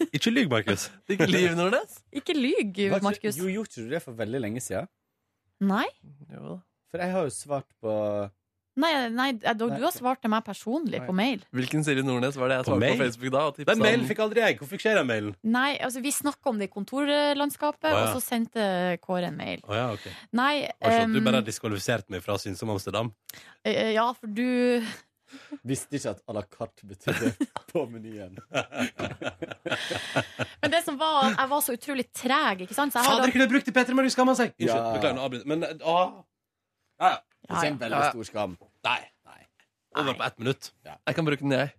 Ikke lyv, Markus. Ikke lyv, Nordnes. Ikke lyg, Var ikke- Markus. Jo, gjorde du det for veldig lenge siden? Nei. For jeg har jo svart på Nei, nei, da- du har svart til meg personlig på mail. Hvilken Silje Nordnes var det jeg På svarte på, mail? Facebook da? og tipset Den mailen om- fikk aldri jeg. Hvorfor fikk ikke jeg den mailen? Nei, altså Vi snakka om det i kontorlandskapet, Å, ja. og så sendte Kåre en mail. Å ja, ok. Nei Altså, at ehm, du bare har diskvalifisert meg fra Syns om Amsterdam? eh, Ja, for du Visste ikke at à la carte betydde på menyen. Men det som var, jeg var så utrolig treg, ikke sant? Så jeg har Fader, da- kunne jeg brukt det, Petter, men du skammer seg! Unnskyld, Ja. beklager, nå avbryter jeg. Men eh, å. Ja, ja. Det er en Ja, ja. veldig stor skam. Nei. Over på ett minutt. Jeg kan bruke den, jeg.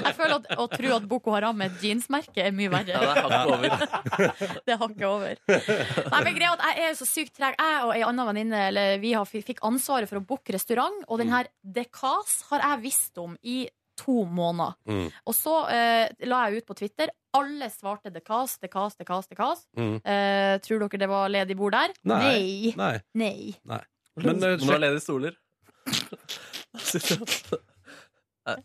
Jeg føler at å tro at Boko Haram er et jeansmerke, er mye verre. Ja, det er hakket over. Det er hakket over. Nei, men greia er at Jeg er jo så sykt treg. Jeg og ei anna venninne Mm. eller vi har, fikk ansvaret for å booke restaurant, og den her Decas har jeg visst om i to måneder. Mm, Og så eh, la jeg ut på Twitter. Alle svarte The Cast, The Cast, The Cast. The cast. Mm. Eh, tror dere det var ledig bord der? Nei. Nei. Nei. Nei. Nei. Men, eh, Nå er ledige stoler. Eh,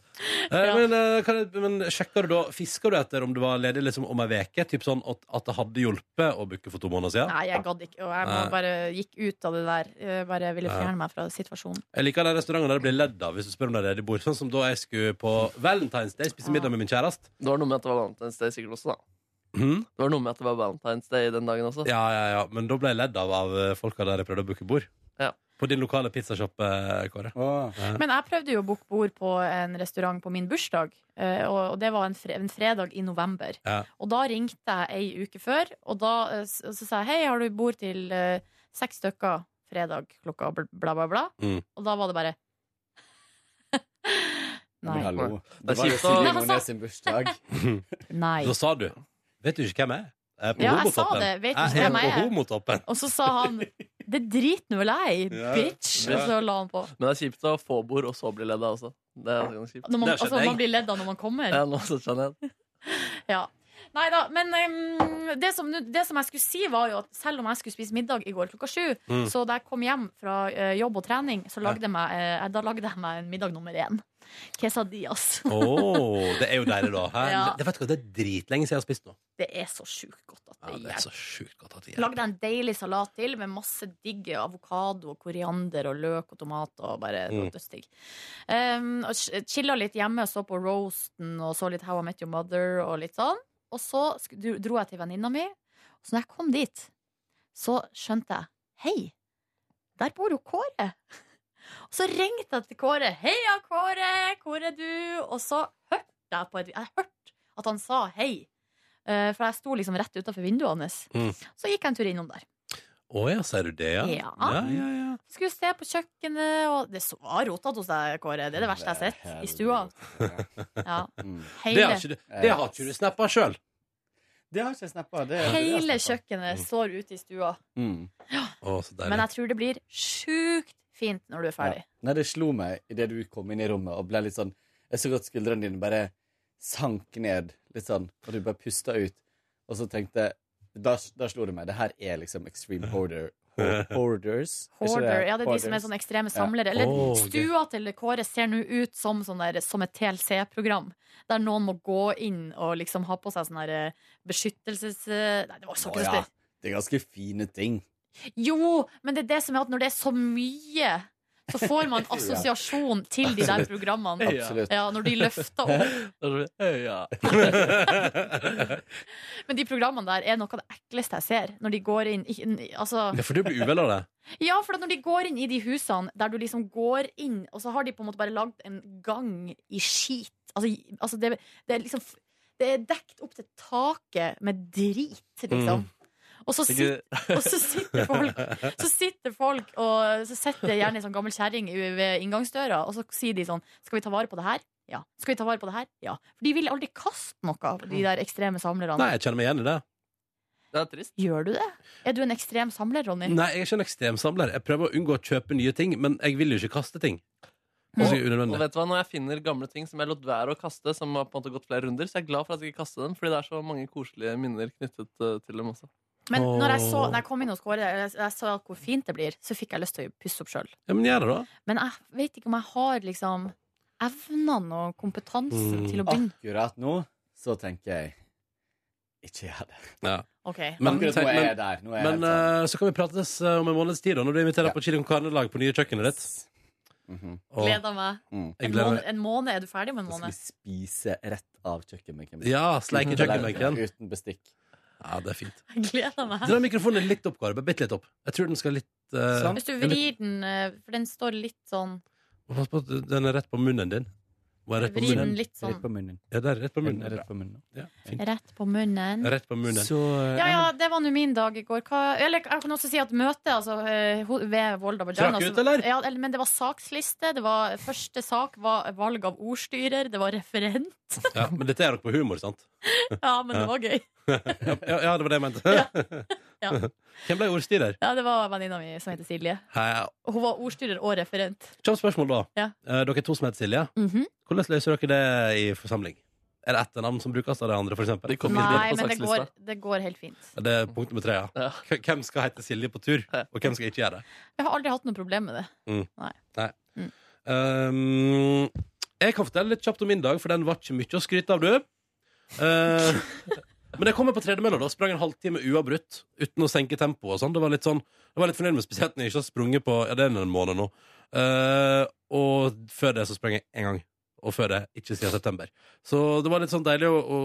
men, eh, kan jeg, men sjekker du da Fisker du etter om det var ledig liksom, om ei veke Typ sånn at, at det hadde hjulpet å booke for to måneder siden? Nei, jeg gadd ikke. Og jeg Nei. må bare gikk ut av det der. Eh, Bare ville Ja. fjerne meg fra situasjonen. Jeg liker de restaurantene der det blir ledd av hvis du spør om det er ledig bord. Sånn som da jeg skulle på Valentine's Day spise middag med min kjæreste. Det var noe med at det var Valentine's Day sikkert også, da. Mm. Mhm. Det var noe med at det var Valentine's Day den dagen også. Ja, ja, ja. Men da ble jeg ledd av av eh, folka der jeg prøvde å booke bord. På din lokale pizzashop, eh, Kåre. Ja. Men jeg prøvde jo å booke bord på en restaurant på min bursdag, eh, og og det var en, fre en fredag i november. Ja. Og da ringte jeg ei uke før, og da eh, s- og så sa jeg hei, har du bord til eh, seks stykker fredag klokka bl- bla, bla, bla? Mm. Og da var det bare Nei. Men hallo. Det er Det var jo kjipt å- Silje Nordnes sin bursdag. Nei. Da sa du Vet du ikke hvem jeg er? Jeg er på Ja, jeg sa homotoppen. det. Vet du ikke hvem er jeg på er? homotoppen. Og så sa han det driter nå vel jeg i, bitch! Ja. Og så la han på. Men det er kjipt å få bord, og så bli ledd av også. Det er ganske kjipt. Når man, altså, man blir ledd av når man kommer. Ja, nå så skjønner jeg. Ja. Nei da, men ehm, det, som, nu- det som jeg skulle si, var jo at selv om jeg skulle spise middag i går klokka sju, Mm. så da jeg kom hjem fra eh, jobb og trening, så lagde, jeg meg, eh, da lagde jeg meg en middag nummer én. Quesadillas. Å, det er jo deilig, da. Hæ? Ja. Det, vet du hva, det er dritlenge siden jeg har spist nå. Det er så sjukt godt at Ja, det det er hjelper. så sjukt godt at det Lagde jeg en deilig salat til med masse digg avokado og koriander og løk og tomat og bare Mm. dødsdigg. Um, og ch- chilla litt hjemme, så på Roasten og så litt How I Met Your Mother og litt sånn. Og så sk- dro dro jeg til venninna mi, og så når jeg kom dit, så skjønte jeg Hei, der bor jo Kåre! Og så ringte jeg til Kåre. Heia, Kåre! Hvor er du? Og så hørte jeg på et Jeg hørte at han sa hei. Eh, For jeg sto liksom rett utafor vinduet hans. Mm. Så gikk jeg en tur innom der. Å ja, sier du det, ja? Ja. ja, ja, ja. Skulle se på kjøkkenet, og det så rotete hos deg, Kåre. Det er det verste jeg har sett i stua. Ja. Mm. Hele- Det har ikke du, det har ikke du snappa sjøl? Det har ikke altså. jeg snappa. Det Hele kjøkkenet står ute i stua. Mm. Å, så deilig. Men jeg tror det blir sjukt fint når du er ferdig. Ja. Nei, det slo meg idet du kom inn i rommet og ble litt sånn Jeg så godt skuldrene dine bare sank ned litt sånn, og du bare pusta ut. Og så tenkte Da, da slo det meg. Det her er liksom extreme hoarder. ho- Hoarders. er ikke Hoarder. Ja, det er de som er Hoarders. sånne ekstreme Ja. samlere. Eller stua til Kåre ser nå ut som, sånn der, som et TLC-program, der noen må gå inn og liksom ha på seg sånn der eh, beskyttelses... eh, Nei, det var så Å, ja. klistig. Det er ganske fine ting. Jo, men det er det som er at når det er så mye så får man Ja. assosiasjon til de der programmene. Absolutt. Ja, når de løfter opp. Men de programmene der er noe av det ekleste jeg ser. Når de går inn i- altså, Ja, for du blir uvel av det. Ja, for at når de går inn i de husene der du liksom går inn, og så har de på en måte bare lagd en gang i skit. Altså, i- altså det, det er liksom f- Det er dekt opp til taket med drit, liksom. Mm. Og, så Ikke- sit, og så sitter folk Så sitter folk og så sitter det gjerne en sånn gammel kjerring i- ved inngangsdøra, og så sier de sånn Skal vi ta vare på det her? Ja. Skal vi ta vare på det her? Ja. For de vil aldri kaste noe, de der ekstreme samlerne. Nei, jeg kjenner meg igjen i det. Det er trist. Gjør du det? Er du en ekstrem samler, Ronny? Nei, jeg er ikke en ekstremsamler. Jeg prøver å unngå å kjøpe nye ting, men jeg vil jo ikke kaste ting. Ganske Og unødvendig. vet du hva, Når jeg finner gamle ting som jeg lot være å kaste, som har på en måte gått flere runder, så jeg er glad for at jeg ikke kastet dem, fordi det er så mange koselige minner knyttet eh, til dem også. Men når jeg, så, når jeg kom inn hos Kåre og jeg, jeg så hvor fint det blir, så fikk jeg lyst til å pusse opp sjøl. Ja, men gjør det, da. Men jeg vet ikke om jeg har liksom evnene og kompetansen Mm. til å begynne. Akkurat nå så tenker jeg ikke gjør det. Ja. Ah, Ok. Men, Akkurat nå er altså. jeg der. Nå er jeg men eh, så kan vi prates eh, om en måneds tid, da, når du inviterer på chili con carne-lag på nye kjøkkenet ditt. sånn- eh, Og- Gleder meg. Mm. Jeg En, gleder måned, meg. en måned? Er du ferdig med en Da Mhm. skal vi måned? spise rett av kjøkkenbenken. Ja, sleike Uten tallerken, kjøkkenbenken. Uten bestikk. Ja, det er fint. Jeg gleder meg. Dra mikrofonen litt opp, Kåre. Bare bitte litt opp. Jeg tror den skal litt eh, Hvis du en vrir litt- den, eh, for den står litt sånn Pass på at den er rett på munnen din. Må jeg rett på Vri den munnen? litt sånn. Rett på munnen. Ja, det er rett på Den munnen. er Bra. rett på munnen. Ja, fint. rett på munnen. Rett på munnen. Ja, ja, det var nå min dag i går. Hva, eller jeg kan også si at møtet altså, eh, ho- ved Volda Vagina Trakk så- ut, eller? Ja, eller- men det var saksliste. Det var, første sak var valg av ordstyrer. Det var referent. Ja, men dette er nok på humor, sant? Ja, men det var gøy. ja, ja, ja, det var det jeg mente. Ja. Hvem ble ordstyrer? Ja, det var venninna mi som heter Silje. Hei. Hun var ordstyrer og referent. Kjapt spørsmål, da. Ja. Eh, Dere er to som heter Silje. Mhm. Hvordan løser dere det i forsamling? Er det etternavn som brukes av de andre, f.eks.? Det, Nei, men det går, det går helt fint. det er punkt nummer tre, ja. K- Hvem skal hete Silje på tur, og hvem skal ikke gjøre det? Jeg har aldri hatt noe problem med det. Mm. Nei. Nei. Um, jeg kan fortelle litt kjapt om min dag, for den var ikke mye å skryte av, du. Eh, men jeg kom meg på tredemølla da, sprang en halvtime uavbrutt uten å senke tempoet. og sånn. Det var litt sånn, jeg var litt fornøyd med spesielt når jeg ikke har sprunget på ja, det er en måned nå. Eh, og før det så sprang jeg én gang. Og før det ikke siden september. Så det var litt sånn deilig å, å,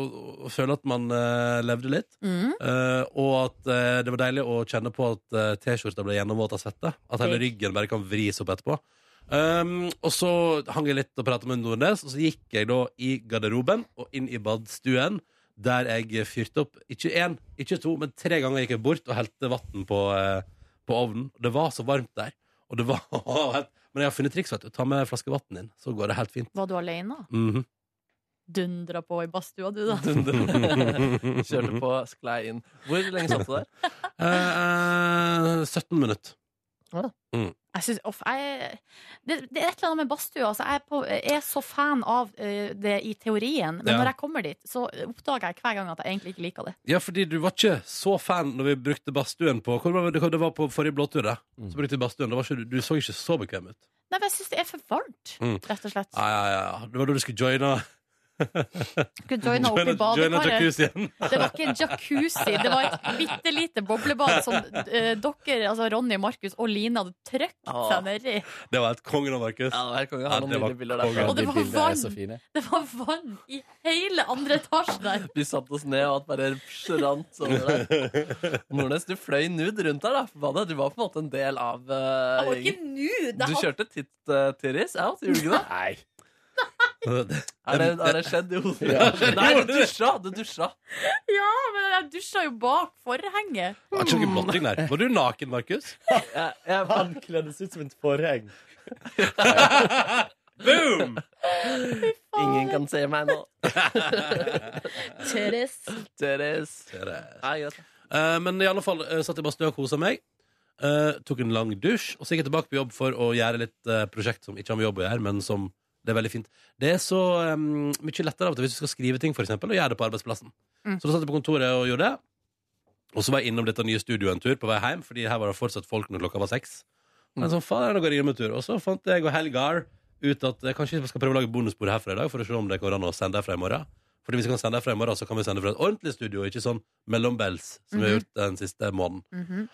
å føle at man eh, levde litt. Mm. Eh, og at eh, det var deilig å kjenne på at eh, T-skjorta ble gjennomvåt av svette. At hele Digg. ryggen bare kan vris opp etterpå. Um, og så hang jeg litt og pratet med Nordnes, og så gikk jeg da i garderoben og inn i badstuen. Der jeg fyrte opp ikke én, ikke to, men tre ganger gikk jeg bort og helte vann på, eh, på ovnen. Det var så varmt der. Og det var helt, Men jeg har funnet triks. vet du Ta med en flaske vann inn, så går det helt fint. Var du alene? Mhm. Dundra på i badstua, du, da. Mhm. Kjørte på, sklei inn. Hvor lenge satt du der? Eh, eh, 17 minutter. Ja. Mm. Jeg synes, off, jeg, det, det er et eller annet med badstua. Altså, jeg er, på, jeg er så fan av eh, det i teorien, men Ja. når jeg kommer dit, så oppdager jeg hver gang at jeg egentlig ikke liker det. Ja, fordi du var ikke så fan når vi brukte badstuen på Hvor var det, det var på forrige blåtur, da. Så brukte vi badstuen. Da var ikke, du- du så ikke så bekvem ut. Nei, men jeg syns det er for varmt, Mm. rett og slett. Ja, ja, ja. Det var da du skulle joine Skulle joina opp i joine badekaret. jacuzzien. Det var ikke en jacuzzi, det var et bitte lite boblebad som eh, dere, altså Ronny, Markus og Line, hadde trøkt Ah. seg nedi. Det var helt kongen av Markus. Ja, det var kongen. Han har noen nydelige bilder derfra. Og det var vann! Det var vann i hele andre etasjen der. Vi satte oss ned, og alt bare rant over der. Nordnes, du fløy nude rundt der, da. Hva da? Du var på en måte en del av eh, Jeg var ikke gjengen. nude! jeg Du hadde- kjørte eh, titt-tiris out, gjorde du ikke det? Nei. Er det, er det skjedd i hodet? Ja. Nei, du dusja! Du dusja. Ja, men jeg dusja jo bak forhenget. Det var ikke noe blotting der. Var du naken, Markus? Han kleddes ut som et forheng. Boom! Ingen kan se meg nå. Therese. Therese. Nei, greit. Eh, men i alle fall eh, satt jeg bare stø og kosa meg. Eh, tok en lang dusj, og så gikk jeg tilbake på jobb for å gjøre litt eh, prosjekt som ikke har med jobb å gjøre, men som det er veldig fint. Det er så eh, mye lettere av og til hvis du skal skrive ting, for eksempel, og gjøre det på arbeidsplassen. Så da satt jeg på kontoret og gjorde det. Og så var jeg innom dette nye studioet en tur på vei hjem, fordi her var det fortsatt folk når klokka var seks. Men sånn, faen, nå går jeg hjem en tur. Og så fant jeg og Helgar ut at jeg kanskje skal prøve å lage bonusbord herfra i dag, for å se om det går an å sende herfra i morgen. Fordi hvis vi kan sende herfra i morgen, så kan vi sende fra et ordentlig studio, ikke sånn mellombels som vi har Mhm. gjort den siste måneden.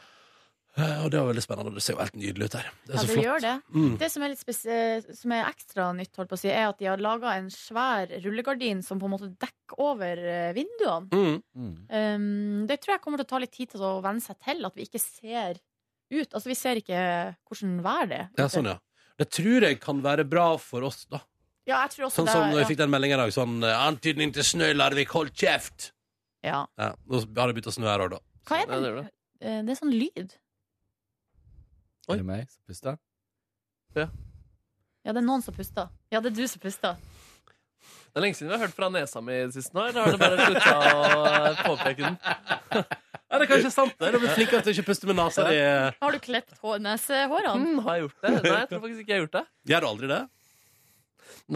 Eh, Og det var veldig spennende. Det ser jo helt nydelig ut her. Det er Ja, så det flott. gjør det. Mm. Det som er, litt spes- eh, som er ekstra nytt, holdt på å si, er at de har laga en svær rullegardin som på en måte dekker over eh, vinduene. Mm. Um, det tror jeg kommer til å ta litt tid til å venne seg til, at vi ikke ser ut. Altså, vi ser ikke hvordan vær det er. Ja, sånn, ja. Det tror jeg kan være bra for oss, da. Ja, jeg tror også Sånn det, som når jeg ja. fikk den meldingen i dag. Sånn eh, 'Antydning til snø, Larvik, hold kjeft!' Ja. Ja, Nå har det begynt å snø her òg, da. Hva er det? Eh, Det er sånn lyd. Er det meg som puster? Ja, det er noen som puster. Ja, det er du som puster. Det er lenge siden vi har hørt fra nesa mi sist nå. Eller har du bare slutta å eh, påpeke den? Er det kanskje sant? det? Du blir flinkere til å ikke puste med nesa di. Har du klept hår- nesehårene? Mm, har jeg gjort det? Nei, jeg tror faktisk ikke jeg har gjort det. Gjør du aldri det?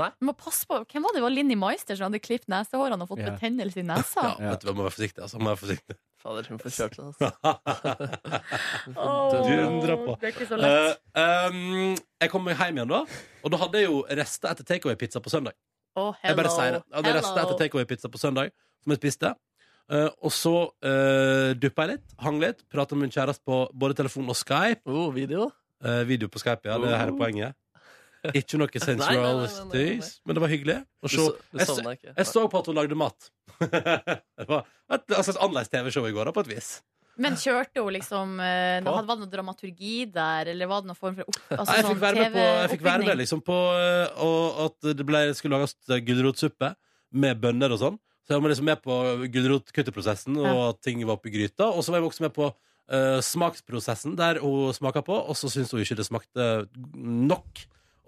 Nei. Du må passe på. Hvem var det? Det var Linni Meister som hadde klippet nesehårene og fått Ja. betennelse i nesa. Ja, vet du, hva, må være forsiktig, altså. Må være forsiktig. Fader, hun får kjørt altså. det, Åh, Dundra på. det er ikke så lett. Eh, um, jeg kom meg hjem igjen da, og da hadde jeg jo rester etter takeaway-pizza på søndag. Å, Jeg bare hello. sier det. Jeg hadde rester Hello. etter takeaway-pizza på søndag, som jeg spiste. Eh, og så uh, duppa jeg litt, hang litt, prata med min kjæreste på både telefon og Skype. Eh, Oh, video? video på Skype, ja. Det er her er poenget. Ikke noe sensual støys, men det var hyggelig. å Du se. so- du jeg, sovna så, ikke. jeg så på at hun lagde mat. det var et, altså et annerledes TV-show i går, da, på et vis. Men kjørte hun liksom eh, På? Var det noe dramaturgi der, eller var det noen form for opp, altså, Nei, jeg fikk sånn være med på, jeg fikk være med TV-oppbygging? liksom på eh, Og at det ble, skulle lages eh, gulrotsuppe med bønner og sånn. Så jeg var liksom med på gulrotkutteprosessen, og Ja. at ting var oppi gryta. Og så var jeg også med på eh, smaksprosessen, der hun smaka på, og så syntes hun ikke det smakte nok,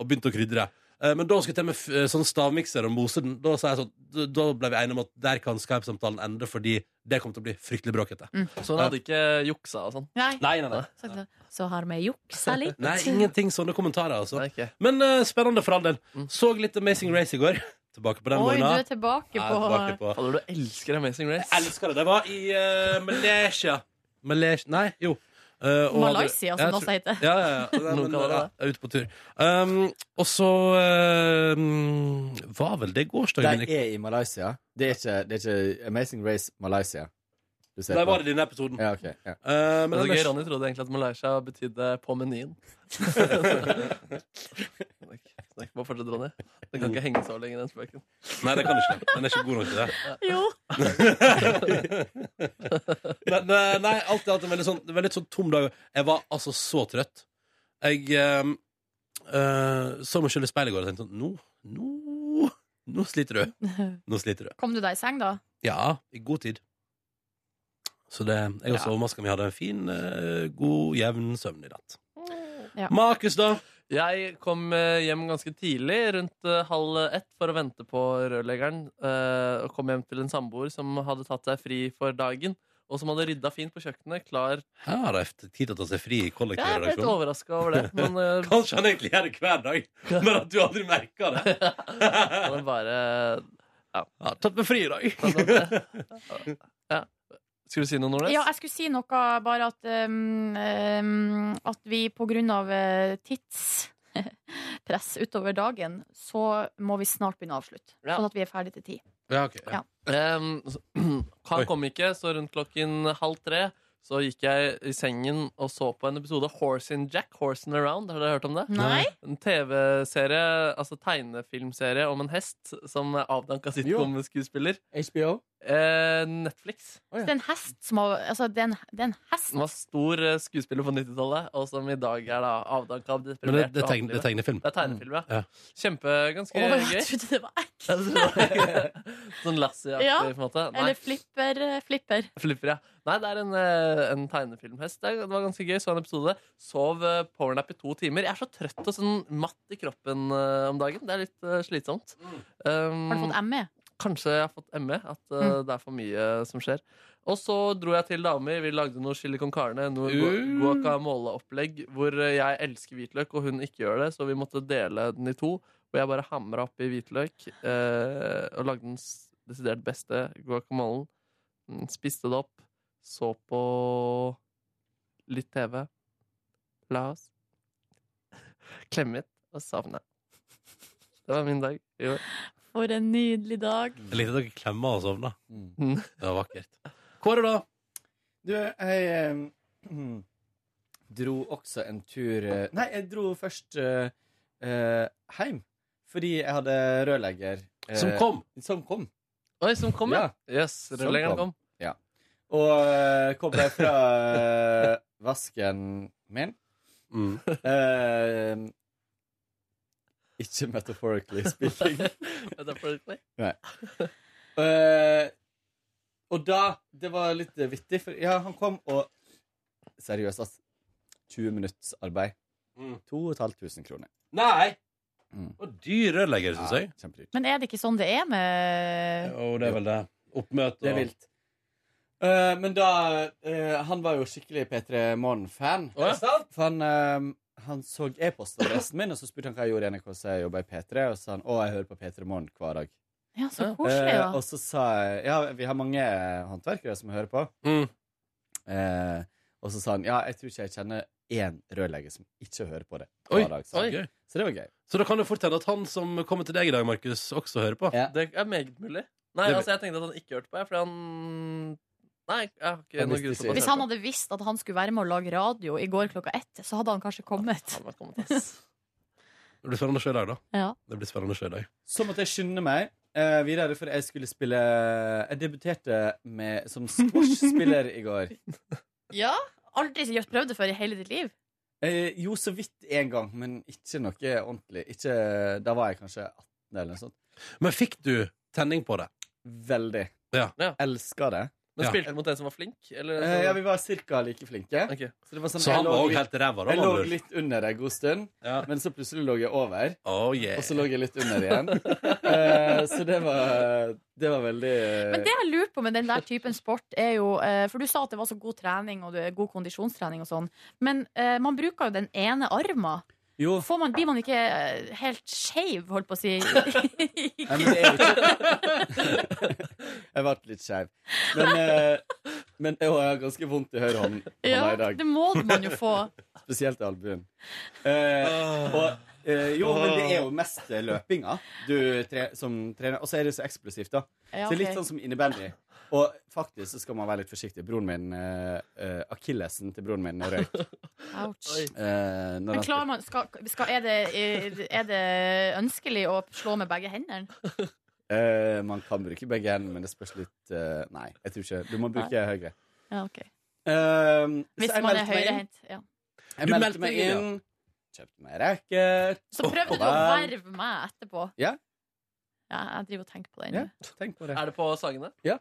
og begynte å krydre. Eh, Eh, Men da skulle jeg til med f- eh, sånn stavmikser og mose den. Da, sa jeg sånn, da- da ble vi enige om at der kan Skype-samtalen ende, fordi det kommer til å bli fryktelig bråkete. Så hun Sånn hadde ikke juksa og sånn? Nei. Nei, nei, nei. Så- Så har vi juksa litt. Nei, ingenting sånne kommentarer, altså. Men eh, spennende for all del. Mm. Så litt Amazing Race i går. Tilbake på den Oi, du vogna. er tilbake Jeg på, er tilbake på. Fader, du elsker Amazing Race. Jeg elsker det. Det var i eh, Malaysia. Malaysia Nei, jo. Eh, og- Malaysia, som Jeg det tror- også heter. Ja, ja, ja. Nei, Noen men, kaller det ja, det. jeg er ute på tur. Um, og så eh, mm, var vel det gårsdagen De er i Malaysia. Det er ikke, det er ikke Amazing Race Malaysia. Du ser Der på. var det denne episoden. Ja, ok, ja. Eh, men det er så gøy, ellers- Ronny trodde egentlig at Malaysia betydde 'på menyen'. Snakk bare fortsett, Ronny. Den kan ikke henge så lenge, den spøken. Nei, det kan du ikke. Den er ikke god nok til det. Jo. Men, eh, nei, alt i alt en veldig sånn, veldig sånn tom dag. Jeg var altså så trøtt. Jeg eh, eh, så meg selv i speilet i går og tenkte sånn Nå, nå, nå sliter du. Nå sliter du. Kom du deg i seng, da? Ja, i god tid. Så det, jeg også Ja. overraska meg. Hadde en fin, eh, god, jevn søvn i natt. Ja. Markus, da? Jeg kom eh, hjem ganske tidlig, rundt eh, halv ett, for å vente på rørleggeren. eh, Og kom hjem til en samboer som hadde tatt seg fri for dagen. Og som hadde rydda fint på kjøkkenet. Klar Her har de hatt tid til å ta seg fri i Ja, jeg ble litt kollektivredaksjonen. overraska over det. Men eh, Kanskje han egentlig gjør det hver dag, men at du aldri merker det. han er bare Ja. Tatt meg fri i dag. Ja. Skulle du si noe, Nordnes? Ja, jeg skulle si noe, bare at, um, um, at vi på grunn av eh, tidspress utover dagen, så må vi snart begynne å avslutte. Ja. Sånn at vi er ferdig til ti. Ja, ok. Ja. Ehm, så- han kom ikke, så rundt klokken halv tre så gikk jeg i sengen og så på en episode av Horse in Jack, Horse in Around. Har dere hørt om det? Nei. En TV-serie, altså tegnefilmserie om en hest som er avdanka sitcom-skuespiller. HBO? Eh, Netflix. Så det er en hest som har Altså, det er en, det er en hest. Den var stor eh, skuespiller på 90-tallet, og som i dag er da avdanka av deprimert. Men det- det er og tegn- det er hatelivet. tegnefilm. Det er tegnefilm, ja. Ja. Kjempe, Å, ganske gøy. jeg trodde det var Sånn Lassie-aktig, Ja. på en måte. Nei. Eller flipper. eh, flipper. Flipper, ja. Nei, det er en, eh, en tegnefilmhest. Det er- det var ganske gøy. Så en episode. Sov eh, powernap i to timer. Jeg er så trøtt og sånn matt i kroppen eh, om dagen. Det er litt eh, slitsomt. Um, Har du fått E? ME? Kanskje jeg har fått ME. At eh, Mm. det er for mye som skjer. Og så dro jeg til damer. Vi lagde noe chili con carne. Noe Uh. gu- guacamole-opplegg hvor eh, jeg elsker hvitløk, og hun ikke gjør det. Så vi måtte dele den i to. Og jeg bare hamra oppi hvitløk eh, og lagde den s- desidert beste guacamolen. Mm, Spiste det opp. Så på litt TV. La oss. Klemmet og savna. Det var min dag. Jo. For en nydelig dag. Jeg likte at dere klemmer og sovna. Mm. Det var vakkert. Kåre, da? Du, jeg eh, dro også en tur eh, Nei, jeg dro først eh, eh, hjem. Fordi jeg hadde rørlegger. eh, Som kom? Som kom. Oi, som kom, ja. Yes, Som rørleggeren kom. Ja. Og eh, kom jeg fra eh, vasken min. Mm. Eh, ikke metaphorically speaking. Metaphorically? Nei. Eh, og da Det var litt eh, vittig, for ja, han kom og Seriøst, ass. 20 minutts arbeid. Mm. 2500 kroner. Nei! Mm. Og dyr rørlegger, syns jeg. Kjempedyrt. Men er det ikke sånn det er med Og det er vel det. Oppmøte Det er og- vilt. Eh, men da eh, Han var jo skikkelig P3 Morgen-fan. Å, ja. For han, eh, han så e-postadressen min, og så spurte han hva jeg gjorde i NRK. Så jeg jobba i P3, og så sa han å, jeg hører på P3 Morgen hver dag. Ja, så koselig, Eh, da. og så sa jeg Ja, vi har mange eh, håndverkere som hører på. Mm. Eh, og så sa han ja, jeg tror ikke jeg kjenner én rørlegger som ikke hører på det. hver Oi, dag, sa han. gøy. Så det var gøy. Så da kan det fort hende at han som kommer til deg i dag, Markus, også hører på. Det er meget mulig. Nei, Det- altså, jeg tenkte at han ikke hørte på, jeg, fordi han Nei, jeg har ikke Han noe visste grunn ikke. til å Hvis han hadde visst at han skulle være med å lage radio i går klokka ett, så hadde han kanskje kommet. Det blir spennende å se i dag, da. Ja. Det blir spennende å se i dag. Så måtte jeg skynde meg eh, videre, for jeg skulle spille Jeg debuterte med, som squash-spiller i går. Ja? Aldri gjort prøvd det før i hele ditt liv? Eh, jo, så vidt én gang, men ikke noe ordentlig. Ikke, da var jeg kanskje 18 eller noe sånt. Men fikk du tenning på det? Veldig. Ja. Elska det. Men Ja. spilte du mot en som var flink? Eller en som... Eh, ja, vi var cirka like flinke. Så, det var sånn, Så han jeg lå var også litt- helt ræva da, Jeg med lå andre ord. litt under en god stund, men så plutselig lå jeg over. Oh, Og så lå jeg litt under igjen. Eh, så det var, det var veldig Men det jeg lurer på med den der typen sport er jo eh, For du sa at det var så god trening og det er god kondisjonstrening og sånn. Men eh, man bruker jo den ene arma. Jo. Får man, blir man ikke eh, helt skeiv, holdt på å si? Nei, eh, men det er jo ikke Jeg ble litt skeiv. Men, eh, men å, jeg har ganske vondt i høyrehånden Ja, i dag. det må man jo få. Spesielt i albuen. Ah. Eh, og, eh, jo, men det er jo mest eh, løpinga du tre, som trener. Og så er det så eksplosivt, da. Ja, Så det er ok. litt sånn som innebandy. Og faktisk så skal man være litt forsiktig. Broren min, eh, eh, Akillesen til broren min røyk. sånn- Ouch. Eh, når Men han klarer man, skal, skal, er, det, er det ønskelig å slå med begge hendene? Eh, man kan bruke begge hendene, men det spørs litt eh, Nei, jeg tror ikke Du må bruke Nei. høyre. Ja, ok. Eh, så Hvis man er jeg meldte meg inn. høyrehendt. Ja. Du Jeg meldte, meldte meg deg inn, inn, kjøpte meg racket. Så prøvde du å verve meg etterpå. Ja. Ja, jeg driver og tenker på det. Ja, nå. tenk på det. Er det på sangene? Ja.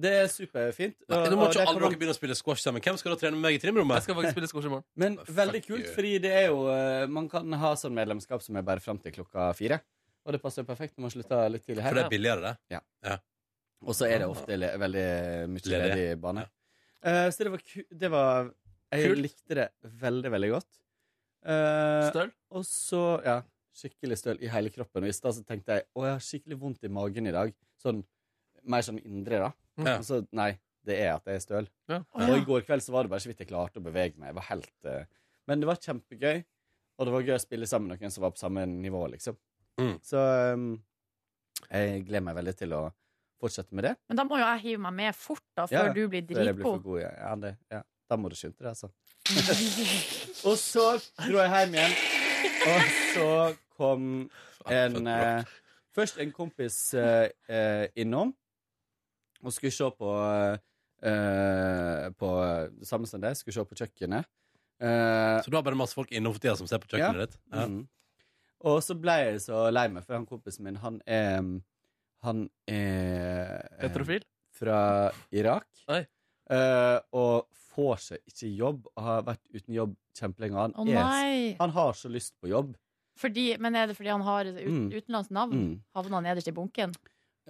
Det er superfint. Nei, Og- nå må og ikke det alle kan- dere begynne å spille squash sammen. Hvem skal da trene med meg i trimrommet? Jeg skal faktisk spille squash i morgen. Men veldig kult, you. fordi det er jo eh, Man kan ha sånn medlemskap som er bare fram til klokka fire. Og det passer perfekt når man slutter litt tidlig her. For det er billigere, det. Ja. Og så er det ofte le veldig mye Ledig. ledig bane. Eh, så det var, ku det var Jeg Kult. likte det veldig, veldig godt. Eh, Støl? Og så, ja. Skikkelig støl i hele kroppen. Og i stad så tenkte jeg å, jeg har skikkelig vondt i magen i dag. Sånn, Mer sånn indre, da. Ja. Og så nei, det er at jeg er støl. Ja. Og i går kveld så var det bare så vidt jeg klarte å bevege meg. Jeg var helt, eh, men det var kjempegøy. Og det var gøy å spille sammen med noen som var på samme nivå, liksom. Så um, jeg gleder meg veldig til å fortsette med det. Men da må jo jeg hive meg med fort, da, før du blir før jeg blir for dritgod. god, ja. Ja, det, ja. Da må du skynde deg, altså. og så dro jeg hjem igjen, og så kom Ah, en eh, Først en kompis eh, eh, innom og skulle se på eh, På det samme som deg, skulle se på kjøkkenet. Eh, Så du har bare masse folk innom for tida som ser på kjøkkenet ditt? Ja. Mhm. Og så ble jeg så lei meg, for han kompisen min, han er Han er eh, Heterofil? Fra Irak. Oi. Eh, og får seg ikke jobb, og har vært uten jobb kjempelenge. Han, Å, er- nei. han har så lyst på jobb. Fordi, men er det fordi han har ut, Mm. utenlandsk navn? Mm. Havna nederst i bunken?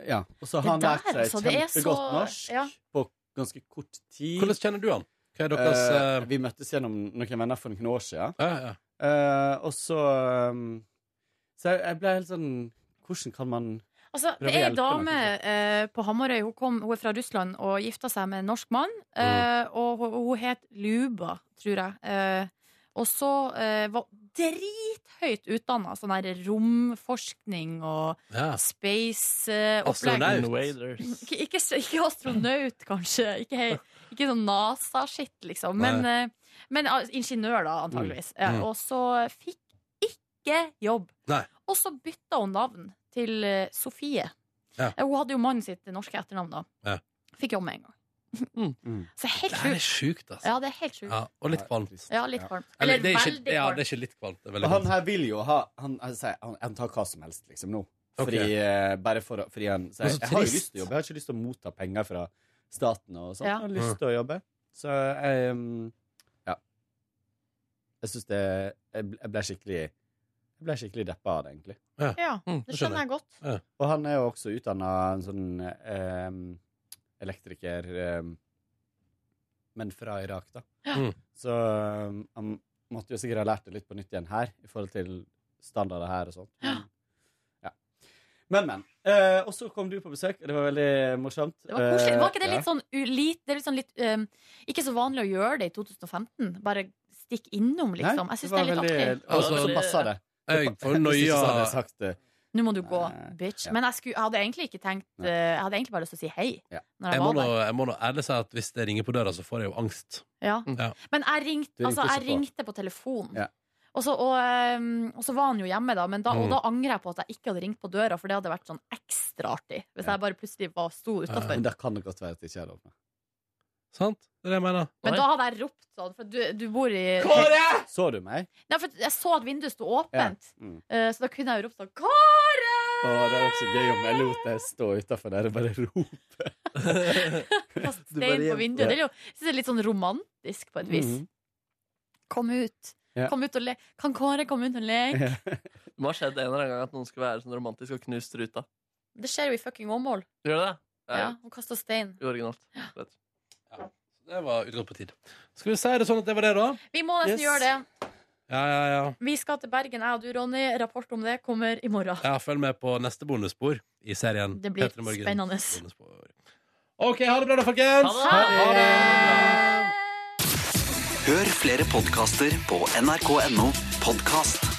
Ja. Og så Det har han lært der, seg altså, det er kjempegodt så- norsk ja. på ganske kort tid. Hvordan kjenner du han? Hva er deres, Eh, Vi møttes gjennom noen venner for noen år siden. Eh, og så um, Så jeg, jeg ble helt sånn Hvordan kan man Altså, det prøve å er ei hjelpe noen? dame eh, på Hamarøy. Hun, kom, hun er fra Russland og gifta seg med en norsk mann. Mm. Eh, og hun, hun het Luba, tror jeg. Eh, og så eh, var drithøyt utdanna. Sånn der romforskning og eh, Ja. space-opplegg. Ikke, ikke, s- ikke astronaut, kanskje. Ikke, hei- ikke sånn NASA-shit, liksom. Men, Nei. eh, men ah, ingeniør, da, antageligvis. Mm. Eh, Mm. Og så fikk ikke jobb. Nei. Og så bytta hun navn til eh, Sofie. Ja. Eh, Hun hadde jo mannen sitt norske etternavn da. Ja. Mm. Fikk jobb med en gang. Så helt Det er sjukt. sjukt, altså. Ja, det er helt sjukt. Ja, og litt kvalmt. Ja, litt kvalmt. Eller, Eller det er ikke, veldig ja, kvalmt. det er ikke litt kvalmt. Det er Og veldig han kvalmt. her vil jo ha Han, han, sier- han, han tar hva som helst, liksom, nå. Ok. Fordi, eh, bare for, å- fordi han sier Men så Jeg har jo trist. lyst til å jobbe, jeg har ikke lyst til å motta penger fra staten og sånt. Ja. Jeg har lyst til å jobbe. Så jeg um, Ja. Jeg syns det jeg, ble- jeg ble skikkelig Jeg ble skikkelig deppa av det, egentlig. Ja, Mm, det skjønner jeg godt. Og han er jo også utdanna en sånn ehm, elektriker ehm, Men fra Irak, da. Ja. Mm. Så ehm, han måtte jo sikkert ha lært det litt på nytt igjen her, i forhold til standarder her og sånn. Ja. Men, men. Eh, og så kom du på besøk, og det var veldig morsomt. Det var koselig. Var ikke det Eh, litt sånn ulit Det er litt sånn litt um, Ikke så vanlig å gjøre det i 2015. Bare stikk innom, liksom. jeg syns det, var er litt veldig- artig. Og så passa det. Altså, Jeg får Hvis ikke så hadde nøya- jeg sagt det. Nå må du gå, bitch. ja. Men jeg, skulle, jeg hadde egentlig ikke tenkt eh, Jeg hadde egentlig bare lyst til å si hei. Når Jeg jeg må, var nå, der. jeg må nå ærlig si at hvis det ringer på døra, så får jeg jo angst. Ja. Mm. Ja. Men jeg ringte, Du ringte altså, jeg ikke på. ringte på telefon. Ja. Og så, og, ehm, og så var han jo hjemme, da, men da, og Mm. da angrer jeg på at jeg ikke hadde ringt på døra, for det hadde vært sånn ekstra artig. Hvis jeg bare plutselig var, sto utafor. Men det kan det godt være at det ikke er lov. Sant? Det er det jeg mener. Men da hadde jeg ropt sånn, for du, du bor i Så du meg? Nei, for jeg så at vinduet sto åpent, Ja. Mm. eh, så da kunne jeg jo ropt sånn Kåre! Å, det er også gøy om jeg lot deg stå utafor der og bare rope. kasta Du bare stein på gjemte vinduet. det. Det er jo jeg synes det er litt sånn romantisk på et vis. Mhm. Kom ut. Ja. Kom ut og le. Kan Kåre komme ut og leke? Det må ha skjedd en eller annen gang at noen skal være sånn romantisk og knust ruta. Det skjer jo i fucking Åmål. Gjør det det? Det er Ja, hun kasta stein. Uoriginalt. Vet. Det var utgått på tid. Skal vi si det sånn at det var det, da? Vi må nesten Yes. gjøre det. Ja, ja, ja. Vi skal til Bergen, jeg og du, Ronny. Rapport om det kommer i morgen. ja Følg med på neste bonusspor i serien. Det blir Petra Morgens spennende. bonusspor. OK, ha det bra, da, folkens! Ha Hør flere podkaster på nrk.no podkast.